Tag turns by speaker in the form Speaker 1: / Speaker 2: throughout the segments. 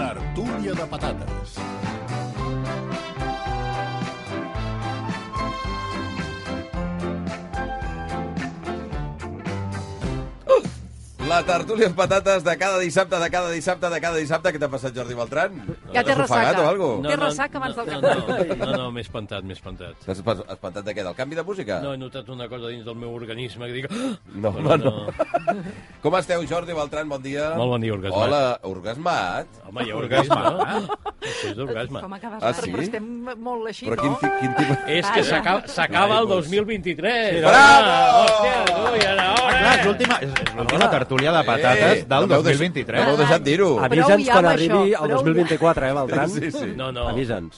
Speaker 1: paella de patates.
Speaker 2: La tertúlia amb patates de cada dissabte, de cada dissabte, de cada dissabte. Què t'ha passat, Jordi Beltran?
Speaker 3: Ja té
Speaker 2: T'has ofegat
Speaker 3: ressaca.
Speaker 2: o algo?
Speaker 3: No. Té ressaca abans
Speaker 4: no,
Speaker 3: del
Speaker 4: no, no, no, no, m'he espantat, m'he espantat.
Speaker 2: T'has pas- espantat de què? Del canvi de música?
Speaker 4: No, he notat una cosa dins del meu organisme que dic... "Ah!"
Speaker 2: No,
Speaker 4: Però
Speaker 2: home, no. Com esteu, Jordi Beltran? Bon dia.
Speaker 4: Molt bon dia, orgasmat.
Speaker 2: Hola, orgasmat.
Speaker 4: Home, hi ha orgasme.
Speaker 2: eh?
Speaker 4: no? Això és d'orgasme.
Speaker 3: Com acabes
Speaker 2: Ah,
Speaker 3: ah, sí?
Speaker 2: sí?
Speaker 3: però estem molt així,
Speaker 2: Però quin,
Speaker 3: no?
Speaker 2: ti- quin tipus...
Speaker 4: És que
Speaker 3: Vaja.
Speaker 4: s'acaba- s'acaba el
Speaker 5: Naipos.
Speaker 4: 2023.
Speaker 2: doncs. Bravo!
Speaker 4: Hòstia, tu, i ara,
Speaker 5: Ah,
Speaker 4: hora!
Speaker 5: clar, és l'última, és- és l'última tertúlia de patates
Speaker 2: Eh,
Speaker 5: del
Speaker 2: no m'heu deixat-
Speaker 5: 2023.
Speaker 2: No m'heu deixat dir-ho.
Speaker 3: Prou
Speaker 6: Avisa'ns
Speaker 3: ja
Speaker 6: quan
Speaker 3: amb
Speaker 6: arribi
Speaker 3: això, prou
Speaker 6: el
Speaker 3: ja.
Speaker 6: 2024, eh, Beltran?
Speaker 2: Sí, sí.
Speaker 4: No, no.
Speaker 6: Avisa'ns.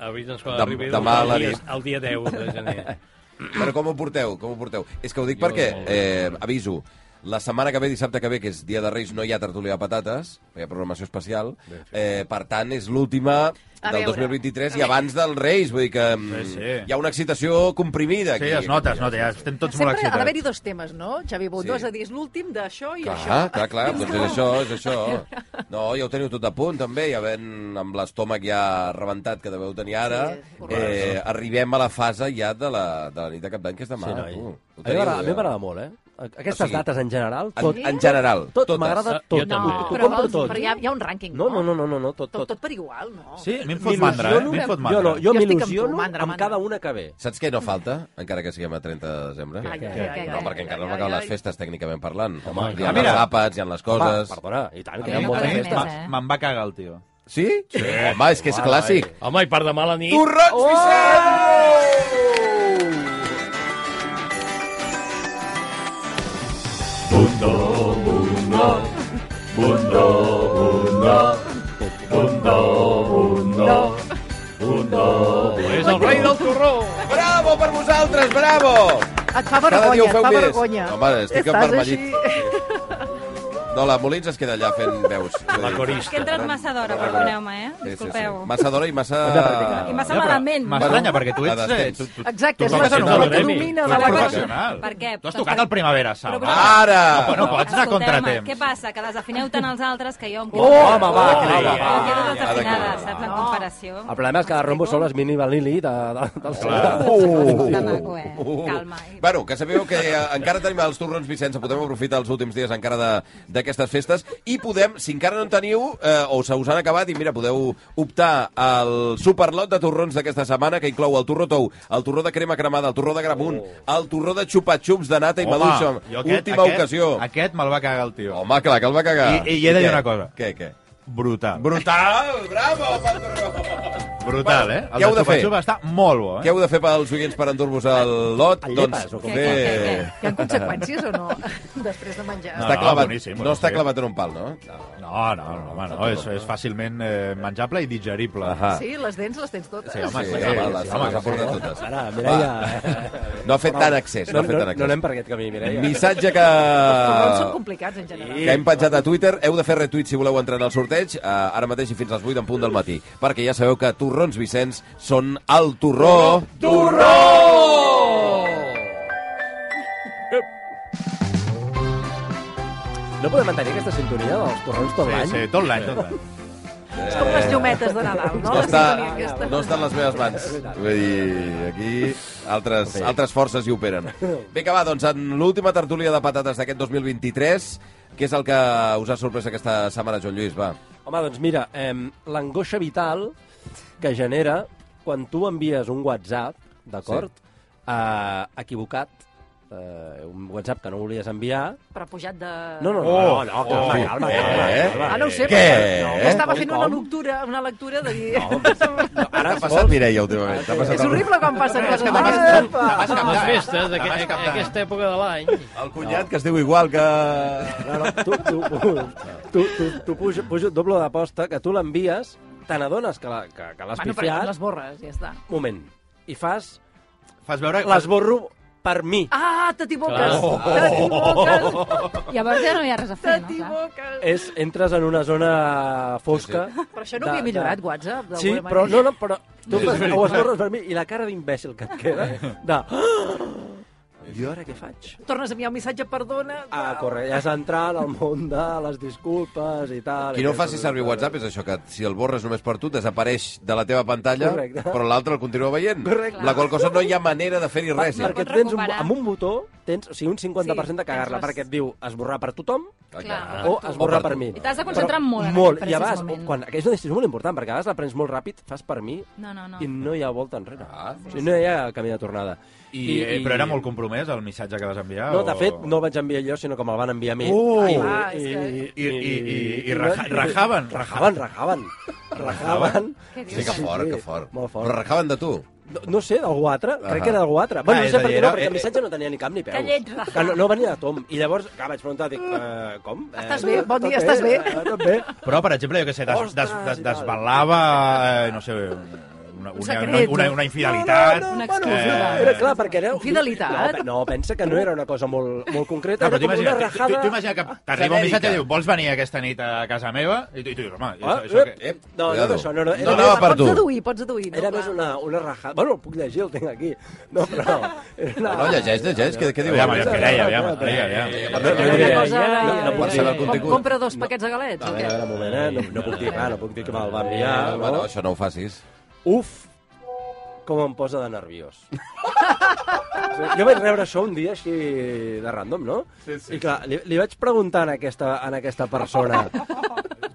Speaker 4: Avisa'ns quan
Speaker 2: Dem-
Speaker 4: arribi
Speaker 2: demà a la
Speaker 4: el, dia,
Speaker 2: nit.
Speaker 4: el dia 10 de gener.
Speaker 2: Però com ho porteu? Com ho porteu? És que ho dic
Speaker 4: Jo
Speaker 2: perquè,
Speaker 4: molt bé.
Speaker 2: eh, aviso, la setmana que ve, dissabte que ve, que és Dia de Reis, no hi ha tertúlia de patates, no hi ha programació especial, eh, per tant, és l'última
Speaker 3: A
Speaker 2: del
Speaker 3: veure.
Speaker 2: 2023 i abans dels Reis, vull dir que mm,
Speaker 5: Sí, sí.
Speaker 2: hi ha una excitació comprimida aquí.
Speaker 5: Sí, es nota, es nota, ja estem tots molt
Speaker 3: Sempre ha
Speaker 5: excitats.
Speaker 3: d'haver-hi dos temes, no, Xavi Bundó?
Speaker 2: Sí.
Speaker 3: Sí. És a dir, és l'últim d'això i
Speaker 2: Clar,
Speaker 3: això.
Speaker 2: clar, clar, doncs és això, és això. No, ja ho teniu tot a punt, també, ja ven amb l'estómac ja rebentat que deveu tenir ara.
Speaker 3: Sí,
Speaker 2: eh, arribem a la fase ja de la, de la nit de cap d'any, que és demà.
Speaker 6: Sí, noi.
Speaker 2: tu. Ho
Speaker 6: A mi m'agrada- a mi
Speaker 2: ja.
Speaker 6: m'agrada molt, eh? Aquestes
Speaker 2: O sigui,
Speaker 6: dates en general, tot,
Speaker 2: En, en general,
Speaker 6: tot
Speaker 2: totes.
Speaker 6: m'agrada
Speaker 4: Ah, jo
Speaker 6: tot.
Speaker 3: No,
Speaker 4: també.
Speaker 6: T'ho
Speaker 3: però,
Speaker 6: compro
Speaker 3: vols,
Speaker 6: tot.
Speaker 3: però hi ha, hi ha un rànquing,
Speaker 6: No, no, no, no, no, no tot,
Speaker 3: Tot,
Speaker 6: tot.
Speaker 3: tot per igual, no?
Speaker 5: Sí, a mi em fot mandra, eh?
Speaker 6: M'il·lusiono-
Speaker 5: A mi em fot mandra.
Speaker 6: Jo no, jo
Speaker 3: Jo estic amb tu,
Speaker 6: m'il·lusiono
Speaker 3: mandra,
Speaker 6: amb
Speaker 3: mandra.
Speaker 6: cada una que ve.
Speaker 2: Saps què no falta, encara que siguem a 30 de desembre?
Speaker 3: Ai, ai, ai, ai,
Speaker 2: no, perquè
Speaker 3: ai,
Speaker 2: encara no
Speaker 3: ai,
Speaker 2: m'acaben
Speaker 3: ai,
Speaker 2: les
Speaker 3: ai.
Speaker 2: festes, tècnicament parlant. Home, hi
Speaker 5: Ah,
Speaker 2: ha
Speaker 5: mira.
Speaker 2: els àpats, hi ha les coses...
Speaker 6: Va, perdona, i tant,
Speaker 5: A mi
Speaker 6: que hi ha
Speaker 5: em
Speaker 6: moltes
Speaker 5: fot-
Speaker 6: festes.
Speaker 5: me- Me'n va cagar el tio.
Speaker 2: Sí? sí? Home, és que és clàssic.
Speaker 4: Home, i per demà a la nit...
Speaker 2: Torrons oh! Vicent!
Speaker 4: És el rei del torró!
Speaker 2: Bravo per vosaltres, bravo!
Speaker 3: Et fa
Speaker 2: Cada dia ho
Speaker 3: vergonya, et
Speaker 2: feu
Speaker 3: fa
Speaker 2: més.
Speaker 3: vergonya.
Speaker 2: Home, estic
Speaker 3: Estàs
Speaker 2: envermellit.
Speaker 3: així.
Speaker 2: No, la Molins es queda allà fent veus.
Speaker 4: La corista.
Speaker 7: Que he entrat massa d'hora, perdoneu-me, eh? Disculpeu.
Speaker 2: Massa d'hora i massa...
Speaker 6: Hem de practicar.
Speaker 7: I massa
Speaker 5: Ja, però
Speaker 7: malament.
Speaker 5: M'estranya, perquè tu ets...
Speaker 2: Adestens.
Speaker 5: eh, tu- tu-
Speaker 3: Exacte,
Speaker 5: tu
Speaker 3: és
Speaker 5: toques
Speaker 3: la
Speaker 4: ets
Speaker 3: persona
Speaker 4: del
Speaker 3: que
Speaker 5: en
Speaker 4: gremi.
Speaker 3: domina
Speaker 5: un-
Speaker 3: de
Speaker 5: tu
Speaker 3: la
Speaker 5: ets
Speaker 7: cosa.
Speaker 3: cosa.
Speaker 5: professional.
Speaker 7: Per què?
Speaker 5: Tu has tocat el Primavera Sound.
Speaker 7: Però-
Speaker 2: Ara!
Speaker 5: No, no pots anar contra
Speaker 7: Escolteu-me,
Speaker 5: temps.
Speaker 7: Què passa? Que desafineu tant els altres que jo em
Speaker 6: Oh,
Speaker 7: quedo...
Speaker 6: home,
Speaker 4: Oh,
Speaker 6: va,
Speaker 4: ja.
Speaker 6: home, va.
Speaker 7: Jo quedo
Speaker 2: Ah,
Speaker 7: desafinada,
Speaker 2: de
Speaker 7: saps? En comparació.
Speaker 6: El problema és que la Rombo són les mini vanili de, de, dels...
Speaker 7: Oh! De maco, eh?
Speaker 2: Uh.
Speaker 7: Calma.
Speaker 2: Bueno, que sabeu que eh, encara tenim els torrons Vicenç, podem aprofitar els últims dies encara de- d'aquestes festes i podem, si encara no en teniu eh, o se us han acabat, i mira, podeu optar al superlot de torrons d'aquesta setmana que inclou el torró tou, el torró de crema cremada, el torró de gramunt, el torró de xupa-xups de nata i
Speaker 5: Oh. Home,
Speaker 2: maduixa.
Speaker 5: jo aquest-
Speaker 2: Última
Speaker 5: aquest-
Speaker 2: ocasió. Oh.
Speaker 5: Aquest me'l va cagar el tio.
Speaker 2: Home, clar, que el va cagar.
Speaker 5: I- i he de dir
Speaker 2: què?
Speaker 5: una cosa.
Speaker 2: Què, què?
Speaker 5: Brutal.
Speaker 2: Brutal! Bravo, pel torró!
Speaker 5: Brutal, eh? El
Speaker 2: Què heu de
Speaker 5: de
Speaker 2: fer?
Speaker 5: Xupa Xupa està molt bo,
Speaker 2: Què
Speaker 5: eh?
Speaker 2: heu de fer pels oients per endur-vos el lot? Doncs
Speaker 6: El llepes, o com?
Speaker 7: Què, què, què, què?
Speaker 3: Hi ha conseqüències o no? Després de menjar.
Speaker 5: No,
Speaker 2: Està clavat,
Speaker 5: boníssim,
Speaker 2: no
Speaker 5: boníssim.
Speaker 2: està clavat en un pal, no? Ah.
Speaker 5: No, no, no, home, no. És, és fàcilment eh, menjable i digerible.
Speaker 2: Ahà.
Speaker 3: Ah. Sí, les dents les tens totes.
Speaker 5: Sí, home, sí,
Speaker 2: Sí, home,
Speaker 5: sí,
Speaker 2: les-
Speaker 5: sí, home,
Speaker 2: les ha
Speaker 5: sí.
Speaker 2: portat totes.
Speaker 6: Ara, Mireia... eh.
Speaker 2: No ha fet tant accés, no
Speaker 6: No,
Speaker 2: ha
Speaker 6: no,
Speaker 2: fet tant
Speaker 6: no anem
Speaker 2: accés.
Speaker 6: per aquest camí, Mireia.
Speaker 2: Missatge que...
Speaker 3: Els torrons són complicats, en general.
Speaker 2: que hem penjat a Twitter. Heu de fer retuit si voleu entrar en el sorteig, eh, ara mateix i fins als 8 en punt del matí, perquè ja sabeu que Torrons Vicenç són el torró...
Speaker 6: No podem mantenir aquesta sintonia dels torrons tot l'any?
Speaker 5: Sí, sí, tot l'any, tot l'any.
Speaker 3: És com les llumetes de Nadal, no?
Speaker 2: No
Speaker 3: La
Speaker 2: està,
Speaker 3: sintonia aquesta.
Speaker 2: no està en les meves mans. Vull dir, aquí altres, altres forces hi operen. Bé, que va, doncs, en l'última tertúlia de patates d'aquest 2023, què és el que us ha sorprès aquesta setmana, Joan Lluís? Va.
Speaker 6: Home, doncs mira, eh, l'angoixa vital que genera quan tu envies un WhatsApp, d'acord? Eh, equivocat, eh, un WhatsApp que no volies enviar.
Speaker 3: Però pujat de...
Speaker 6: No, no, no,
Speaker 5: Oh,
Speaker 6: no, no calma,
Speaker 5: oh,
Speaker 6: calma, calma,
Speaker 2: eh,
Speaker 6: calma, calma.
Speaker 3: Ah, no ho sé,
Speaker 2: Què?
Speaker 3: però jo estava
Speaker 6: Com,
Speaker 3: fent
Speaker 6: com?
Speaker 3: una lectura, una lectura de dir...
Speaker 6: No, ara,
Speaker 2: T'ha
Speaker 6: si
Speaker 2: passat,
Speaker 6: vols,
Speaker 2: Mireia, últimament? T'ha passat
Speaker 3: és
Speaker 2: el-
Speaker 3: horrible quan passen coses. Epa!
Speaker 4: Les festes d'aquest- d'aquesta època de l'any.
Speaker 2: El cunyat, que es diu igual que...
Speaker 6: no, no, tu, tu, tu, tu, tu puja, puja doble d'aposta, que tu l'envies, te n'adones que la- que- que l'has
Speaker 3: Bueno, però
Speaker 6: pifiat,
Speaker 3: les borres, ja està.
Speaker 6: moment, i fas,
Speaker 5: Fas veure...
Speaker 6: l'esborro per mi.
Speaker 3: Ah, te t'equivoques!
Speaker 4: Clar.
Speaker 3: Te t'equivoques!
Speaker 7: Llavors ja no hi ha res a
Speaker 3: Te
Speaker 7: fer, no? Clar.
Speaker 3: t'equivoques!
Speaker 6: És, entres en una zona fosca. Sí,
Speaker 3: Però això no ho havia millorat, WhatsApp, d'alguna
Speaker 6: Sí,
Speaker 3: manera.
Speaker 6: però no, no, però tu fas, ho esborres per mi i la cara d'imbècil que et queda de... "Ah!" jo ara què faig?
Speaker 3: Tornes a enviar un missatge, perdona...
Speaker 6: Ah, corre, ja has entrat al món de les disculpes i tal.
Speaker 2: Qui no faci servir WhatsApp és això, que si el borres només per tu, desapareix de la teva pantalla,
Speaker 6: Correcte.
Speaker 2: però l'altre el continua veient.
Speaker 6: Correcte.
Speaker 2: La qual cosa no hi ha manera de fer-hi res.
Speaker 7: no
Speaker 2: Ja.
Speaker 7: pot
Speaker 6: Perquè tens un,
Speaker 7: recuperar.
Speaker 6: amb un botó tens o sigui, un
Speaker 3: Sí,
Speaker 6: 50% de cagar-la,
Speaker 3: tens les-
Speaker 6: perquè et diu esborrar per tothom
Speaker 7: Clar.
Speaker 6: o esborrar
Speaker 2: O per Ah,
Speaker 6: per,
Speaker 2: tu.
Speaker 6: mi.
Speaker 7: I t'has de concentrar
Speaker 6: Però
Speaker 7: molt en
Speaker 6: molt.
Speaker 7: aquest
Speaker 6: I a vegades,
Speaker 7: precís moment.
Speaker 6: quan, aquesta decisió és molt important, perquè a vegades la prens molt ràpid, fas per mi
Speaker 7: No, no, no.
Speaker 6: i no hi ha volta enrere.
Speaker 2: Ah,
Speaker 6: o sigui, no hi ha camí de tornada.
Speaker 5: I, I, eh, però era molt compromès el missatge que vas enviar?
Speaker 6: No,
Speaker 5: o...
Speaker 6: de fet, no el vaig enviar jo, sinó que me'l van enviar a mi.
Speaker 5: Uh!
Speaker 3: Ah, és que-
Speaker 5: I, i, i, i raja, rajaven, rajaven.
Speaker 6: Rajaven, rajaven. Rajaven.
Speaker 7: Què dius?
Speaker 2: Sí, que fort, que fort.
Speaker 6: Molt fort.
Speaker 2: Però rajaven de tu.
Speaker 6: No, no sé, d'algú altre. Crec
Speaker 2: Ahà.
Speaker 6: que era d'algú altre. Bueno,
Speaker 5: Ah,
Speaker 6: no
Speaker 5: és
Speaker 6: sé
Speaker 5: a
Speaker 6: per
Speaker 5: dir,
Speaker 6: què no,
Speaker 5: era-
Speaker 6: perquè el missatge no tenia ni cap ni peus.
Speaker 7: Que lleig, Rafa.
Speaker 6: Que no, no venia de tom. I llavors, clar, vaig preguntar, dic, eh, com? Eh,
Speaker 3: Ah. Estàs bé? Bon
Speaker 6: tot
Speaker 3: dia, estàs bé?
Speaker 6: Eh, tot bé.
Speaker 5: Però, per exemple, jo què sé, des, des,
Speaker 6: Ostres,
Speaker 5: des,
Speaker 6: i tal.
Speaker 5: desvelava, eh, no sé, una, una, una,
Speaker 3: secret,
Speaker 5: una,
Speaker 3: no?
Speaker 5: una infidelitat.
Speaker 6: No, no,
Speaker 7: Una
Speaker 6: no, bueno,
Speaker 7: exclusiva.
Speaker 6: eh, era clar, perquè era...
Speaker 3: Fidelitat.
Speaker 6: No, no, pensa que no era una cosa molt, molt
Speaker 5: No,
Speaker 6: concreta, era
Speaker 5: però
Speaker 6: com una
Speaker 5: t'imagina, tu,
Speaker 6: rajada...
Speaker 5: tu imagina que t'arriba un missatge
Speaker 2: genèrica.
Speaker 5: i diu vols venir aquesta nit a casa meva? I tu, i tu dius, home,
Speaker 6: Ah,
Speaker 5: això, això
Speaker 6: ep,
Speaker 5: què?
Speaker 2: Ep,
Speaker 6: no, no,
Speaker 2: cuidado.
Speaker 6: no, això no, no,
Speaker 2: No
Speaker 6: era,
Speaker 2: anava per tu.
Speaker 3: Pots deduir, pots deduir.
Speaker 6: Ah, era
Speaker 3: no,
Speaker 6: més
Speaker 3: clar.
Speaker 6: una, una rajada... Bueno, el puc llegir, el tinc aquí. No, però... Era una...
Speaker 2: No, no, llegeix, llegeix, què, què diu?
Speaker 5: Aviam, aviam,
Speaker 6: que
Speaker 5: que deia, aviam, deia,
Speaker 6: No,
Speaker 5: aviam.
Speaker 3: Una
Speaker 6: no, no, no,
Speaker 3: cosa...
Speaker 6: no, no
Speaker 2: pot
Speaker 6: puc
Speaker 2: ser
Speaker 6: dir...
Speaker 2: el contingut.
Speaker 3: Com- Compra dos paquets de galets.
Speaker 6: A
Speaker 3: o
Speaker 6: veure,
Speaker 3: què?
Speaker 6: a veure, un moment, eh? No, no puc dir, clar, no puc dir que me'l va enviar.
Speaker 2: Ah,
Speaker 6: no?
Speaker 2: bueno, això no ho facis.
Speaker 6: Uf, com em posa de nerviós. jo vaig rebre això un dia així de random, no? Sí, sí, I clar, li, li vaig preguntar a aquesta, a aquesta persona...